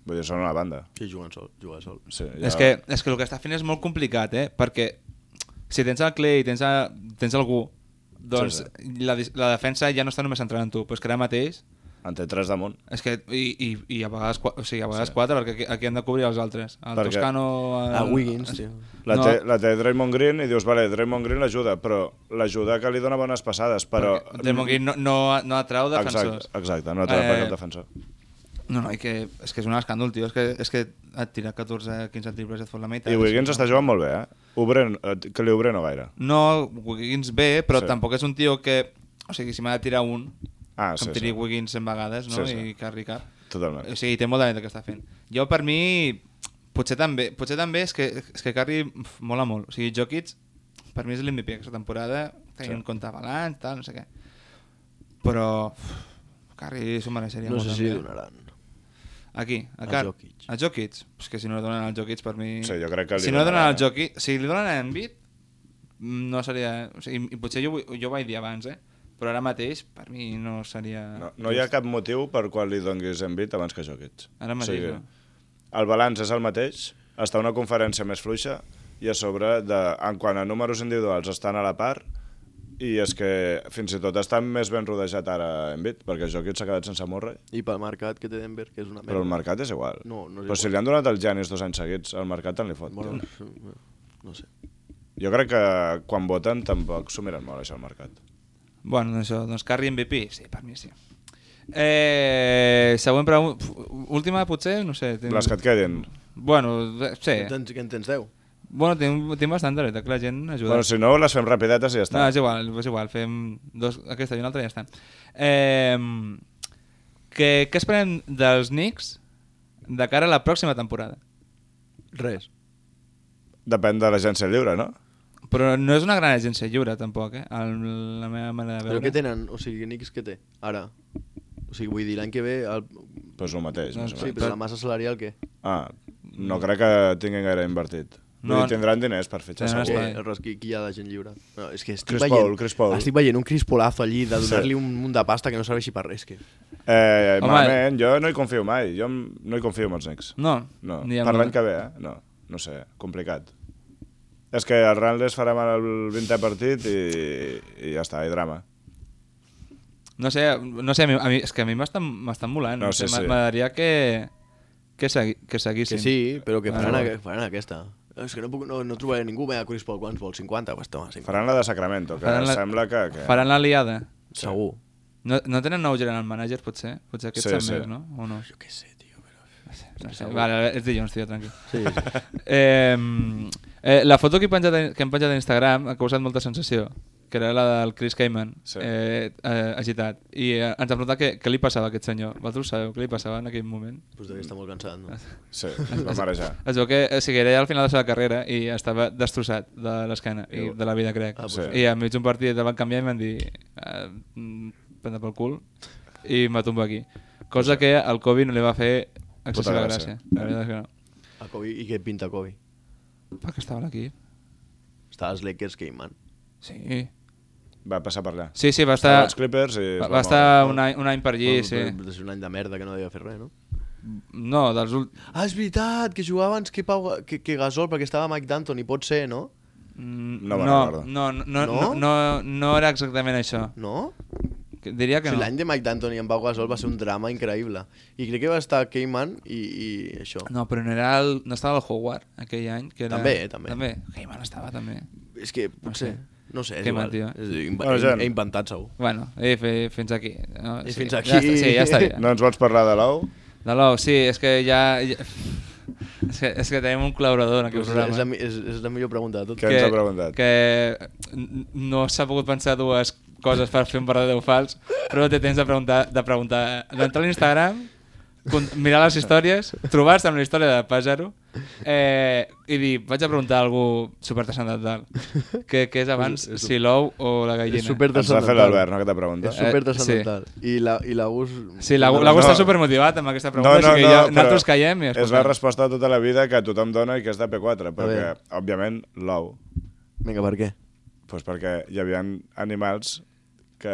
Vull dir, són una banda.
Sí, juguen sol, jugar sol.
Sí,
Ja. És, que, és que el que està fent és molt complicat, eh? Perquè si tens el Clay i tens, a, tens algú, doncs
Sí,
sí, sí. La, dis- la defensa ja no està només centrada en tu, però és que ara mateix
En té tres damunt.
és que, i, i, i a vegades, qua- o sigui, a vegades sí. quatre, perquè aquí, aquí han de cobrir els altres. El
Perquè-
perquè... Toscano... El,
A Ah, Wiggins, tio.
La,
No.
no. té, la té Draymond Green i dius, vale, Draymond Green l'ajuda, però l'ajuda que li dona bones passades, però...
Perquè Draymond Green no, no, no atrau defensors.
Exacte, exacte no atrapa eh... cap defensor.
No, no, i que, és que és un escàndol, tio. És que, és que et tira 14, 15 triples i et fot la meitat.
I Wiggins està jugant molt bé, eh? Obre, eh, que li obre no gaire.
No, Wiggins bé, però
Sí.
sí. tampoc és un tio que... O sigui, si m'ha de tirar un,
Ah,
que
sí,
em tiri
sí.
Wiggins 100 vegades, no?
Sí,
Sí,
sí.
sí. I Carri cap.
Totalment.
O sigui, té molt talent el que està fent. Jo, per mi, potser també, potser també és que, és que Carri uf, mola molt. O sigui, Jokic, per mi és l'MVP aquesta temporada, tenint
Sí.
sí. en compte balanç, tal, no sé què. Però... uf, Carri s'ho mereixeria
No
molt.
sé si
també. eh?
donaran.
Aquí, a,
A
Car
Jokic.
A Jokic. És que si no li donen al Jokic, per mi...
Sí, jo crec que li
si no li donen
donaran,
al
eh?
Jokic... Si li donen a Embiid, no seria... O sigui, i potser jo, vull- jo ho vaig dir abans, eh? Però ara mateix, per mi, no seria...
No, no hi ha cap motiu per qual li donguis Embiid abans que Jokic.
Ara mateix, no.
El balanç és el mateix, està una conferència més fluixa i a sobre, de, en quant a números individuals, estan a la part i és que fins i tot està més ben rodejat ara Embiid, perquè Jokic s'ha quedat sense Murray.
I pel mercat que té Denver, que és una merda.
Però el mercat és igual.
No, no és
Però si
igual.
li han donat el Janis dos anys seguits, el mercat tant li fot.
Bueno,
Bueno.
no, no sé.
Jo crec que quan voten tampoc s'ho miren molt, això, el mercat.
Bueno, doncs això, doncs Carri MVP, sí, per mi sí. Eh, següent pregunta... Última, potser? No sé. tinc-
Les que et queden.
Bueno, eh, sí.
Que en tens, que en tens 10.
Bueno, tinc, tinc bastant de eh, que la gent ajuda.
Bueno, si no, les fem rapidetes i ja
No,
està.
és igual, és igual, fem dos, aquesta i una altra i ja està. Eh, que, què esperem dels Knicks de cara a la pròxima temporada?
Res.
Depèn de l'agència lliure, no?
Però no és una gran agència lliure, tampoc, eh? El, la meva manera de
Però
veure.
què tenen? O sigui, Knicks què té? Ara. O sigui, vull dir, l'any que ve... El...
Doncs pues el mateix.
No,
més o
Sí,
menys.
però la massa salarial què?
Ah, no crec que tinguin gaire invertit. No,
Mm. No,
dir, tindran diners per fitxar
Tenen
segur.
Què?
espai.
El Roski, qui hi ha de gent lliure? No, és que estic
Chris
veient,
Paul, Chris Paul.
Estic veient un crispolazo allí de
Sí.
donar-li un munt de pasta que no serveixi per res. Que...
Eh,
Home.
malament, jo no hi confio mai. Jo em- no hi confio en els Knicks.
No,
No,
ni amb-
per l'any que ve, eh? No, no sé, complicat. És que el Randles farà mal el 20è partit i, i ja està, hi drama.
No sé, no sé a mi, a mi, és que a mi m'estan m'estan molant.
No,
No, no sé,
sí, sí.
m'agradaria que, que, segui, que seguissin.
Que sí, però que faran,
Ah,
ah, faran aquesta. És que no, puc, no, no trobaré ningú. Vinga, Chris Paul, quants vols? 50? Pues toma, 50.
Faran la de Sacramento, que
Faran la-
sembla que... que...
Faran la liada.
Segur.
No, no tenen nou general manager, potser? Potser aquests
Sí,
sí,
sí.
més, no? O no?
Jo què sé, tio. Però...
No sé, vale, és dilluns, tio, tranquil.
Sí,
<laughs>
sí.
Eh, eh, la foto que, he penjat, a- que hem penjat a Instagram ha causat molta sensació, que era la del Chris Cayman,
Sí.
sí. eh, eh, agitat. I eh, ens ha preguntat què, què li passava a aquest senyor. Vosaltres sabeu què li passava en aquell moment?
pues devia estar molt cansat,
<laughs>
no?
Sí, es va marejar.
Es veu que o sigui, era ja al final de la seva carrera i estava destrossat de l'esquena i de la vida, crec.
Ah,
Ah,
Sí.
pues
sí.
I enmig d'un partit el van canviar i van dir eh, mm, prendre pel cul i m'ha tombat aquí. Cosa que al Kobe no li va fer
Puta
excessiva
gràcia.
gràcia. La veritat és que no.
A Kobe, I què pinta Kobe?
Perquè estava a l'equip.
Està als Lakers Game, man.
Sí.
Va passar per allà.
Sí, sí, va
Estava
estar...
als Clippers i... es
Va,
moure.
va estar un any, un any per allí, sí.
Però és un any de merda que no devia fer res, no?
No, dels últims...
Ah, és veritat, que jugava abans que, Pau, que, que Gasol, perquè estava Mike D'Antoni, pot ser, no?
No
No,
me'n
mm, no,
recordo.
no, no,
No?
no, no, no era exactament això.
No?
Que- Diria
Que
que
o sigui,
no.
L'any de Mike D'Antoni amb Pau Gasol va ser un drama increïble. I crec que va estar Cayman i, i això.
No, però no, era el, no estava el Howard aquell any. Que era...
També, eh, també.
També. Heyman estava també.
És que potser...
sé.
No sé, és
Cayman,
igual.
tio.
És, a dir, inv
Bueno, Jan.
he, he inventat, segur.
Bueno, eh, fe, fins aquí. No,
I fins
ja
aquí.
està- sí, ja està bé.
No ens vols parlar de l'ou?
De l'ou, sí, és que ja... <laughs> ja... És que, és que tenim un col·laborador en aquest
Pues és,
programa. eh?
és, la, mi- és, és la millor pregunta de tot.
Que- ens ha preguntat?
Que n- no s'ha pogut pensar dues coses per fer un verdader o fals, però té temps de preguntar, de preguntar d'entrar a l'Instagram, con- mirar les històries, trobar-se amb la història de Pàjaro eh, i dir, vaig a preguntar a algú supertrascendental. Què què és abans, si l'ou o la gallina?
És super
Ens va fer l'Albert, no, aquesta pregunta?
És super
Eh,
I la, i la Gus...
Sí, l'Agu
No.
l'Agu està supermotivat amb aquesta pregunta, així que ja,
però
nosaltres caiem i
És la
escoltem.
resposta de tota la vida que tothom dona i que és de P4, perquè,
veure.
òbviament, l'ou.
Vinga, per què?
Doncs perquè hi havia animals que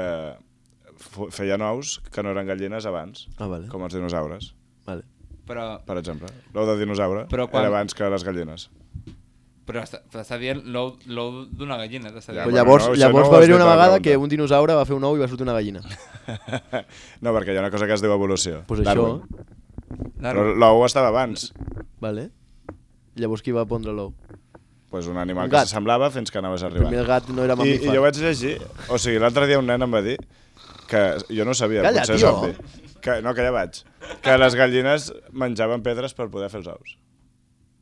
fu- feien ous que no eren gallines abans,
Ah, vale.
com els dinosaures,
Vale.
Però,
per exemple. L'ou de dinosaure
Però quan-
era abans que les gallines. <laughs>
però està, però està dient l'ou l'ou d'una gallina, t'està
Ja,
dient.
Però
bueno,
llavors,
no, això
llavors
no ho
va
has
haver-hi
dit
una
a la
vegada
pregunta.
que un dinosaure va fer un ou i va sortir una gallina.
no, perquè hi ha una cosa que es diu evolució.
Pues això,
Darwin. Però l'ou estava abans.
vale? Llavors qui va pondre l'ou?
Pues un animal
Un
que
gat.
s'assemblava fins que anaves arribant.
Primer el gat no era
I,
mamífer.
I jo vaig llegir, o sigui, l'altre dia un nen em va dir que jo no ho sabia,
Calla,
potser és
tio.
obvi. Que, no, que ja vaig. Que les gallines menjaven pedres per poder fer els ous.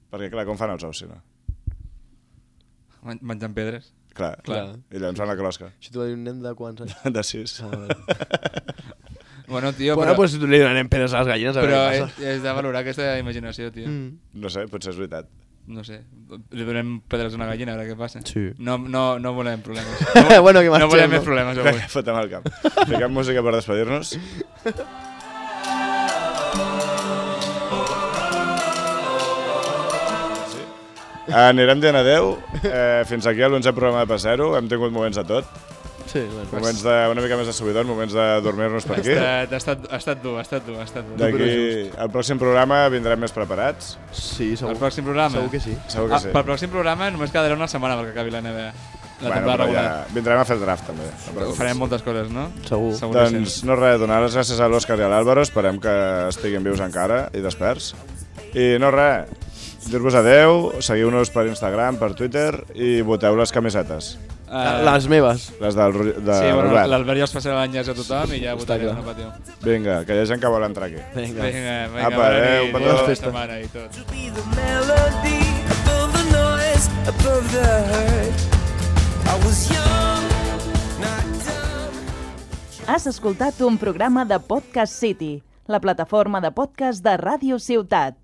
Perquè, clar, com fan els ous, si no?
Men- Menjant pedres.
Clar.
Clar.
I llançant la closca.
Això t'ho va dir un nen de quants anys?
De sis.
Ah, vale.
Bueno, tio,
bueno,
però,
pues li donarem pedres a les gallines a
però eh,
veure
és, és de valorar aquesta imaginació, tio. Mm.
Mm.
<laughs> No sé, potser és veritat.
No sé, li donem pedres a una gallina, a veure què passa.
Sí.
No, no, no volem problemes.
<laughs>
No,
Bueno, que
no
marxem,
volem
no?
més problemes
Que,
<laughs>
avui.
que fotem el camp. Fiquem música per despedir-nos. Sí. Anirem dient adeu. Eh, fins aquí a l'11 programa de Passero. Hem tingut moments de tot.
Sí, bueno.
Moments de, una mica més de subidon, moments de dormir-nos per
Ha
aquí.
estat, ha, estat, ha estat dur, ha estat dur, ha estat dur.
D'aquí al pròxim programa vindrem més preparats.
Sí, segur.
El pròxim programa.
Segur que sí.
Segur que
Ah,
sí.
pel pròxim programa només quedarà una setmana perquè acabi la NBA. La
Bueno,
temporada
però ja
regular.
vindrem a fer el draft, també. no preocupis.
Farem moltes coses, no?
Segur.
Segur que
Doncs no res, donar les gràcies a l'Òscar i a l'Àlvaro, esperem que estiguin vius encara i desperts. I no res, dir-vos adeu, seguiu-nos per Instagram, per Twitter i voteu les camisetes.
sí.
Ah,
Eh,
Les meves.
Les del, Ru- de
Sí, bueno,
Robert.
l'Albert ja us passarà l'enllaç a tothom i ja votareu,
clar.
no patiu.
Vinga, que hi ha gent que vol entrar aquí.
eh,
Vinga.
Vinga, vinga,
Apa,
bona
adeu,
nit,
petó.
bona
Festa.
setmana i tot.
to be the melody above the noise, above the hurt. I was young, not dumb.
Has escoltat un programa de Podcast City, la plataforma de podcast de Ràdio Ciutat.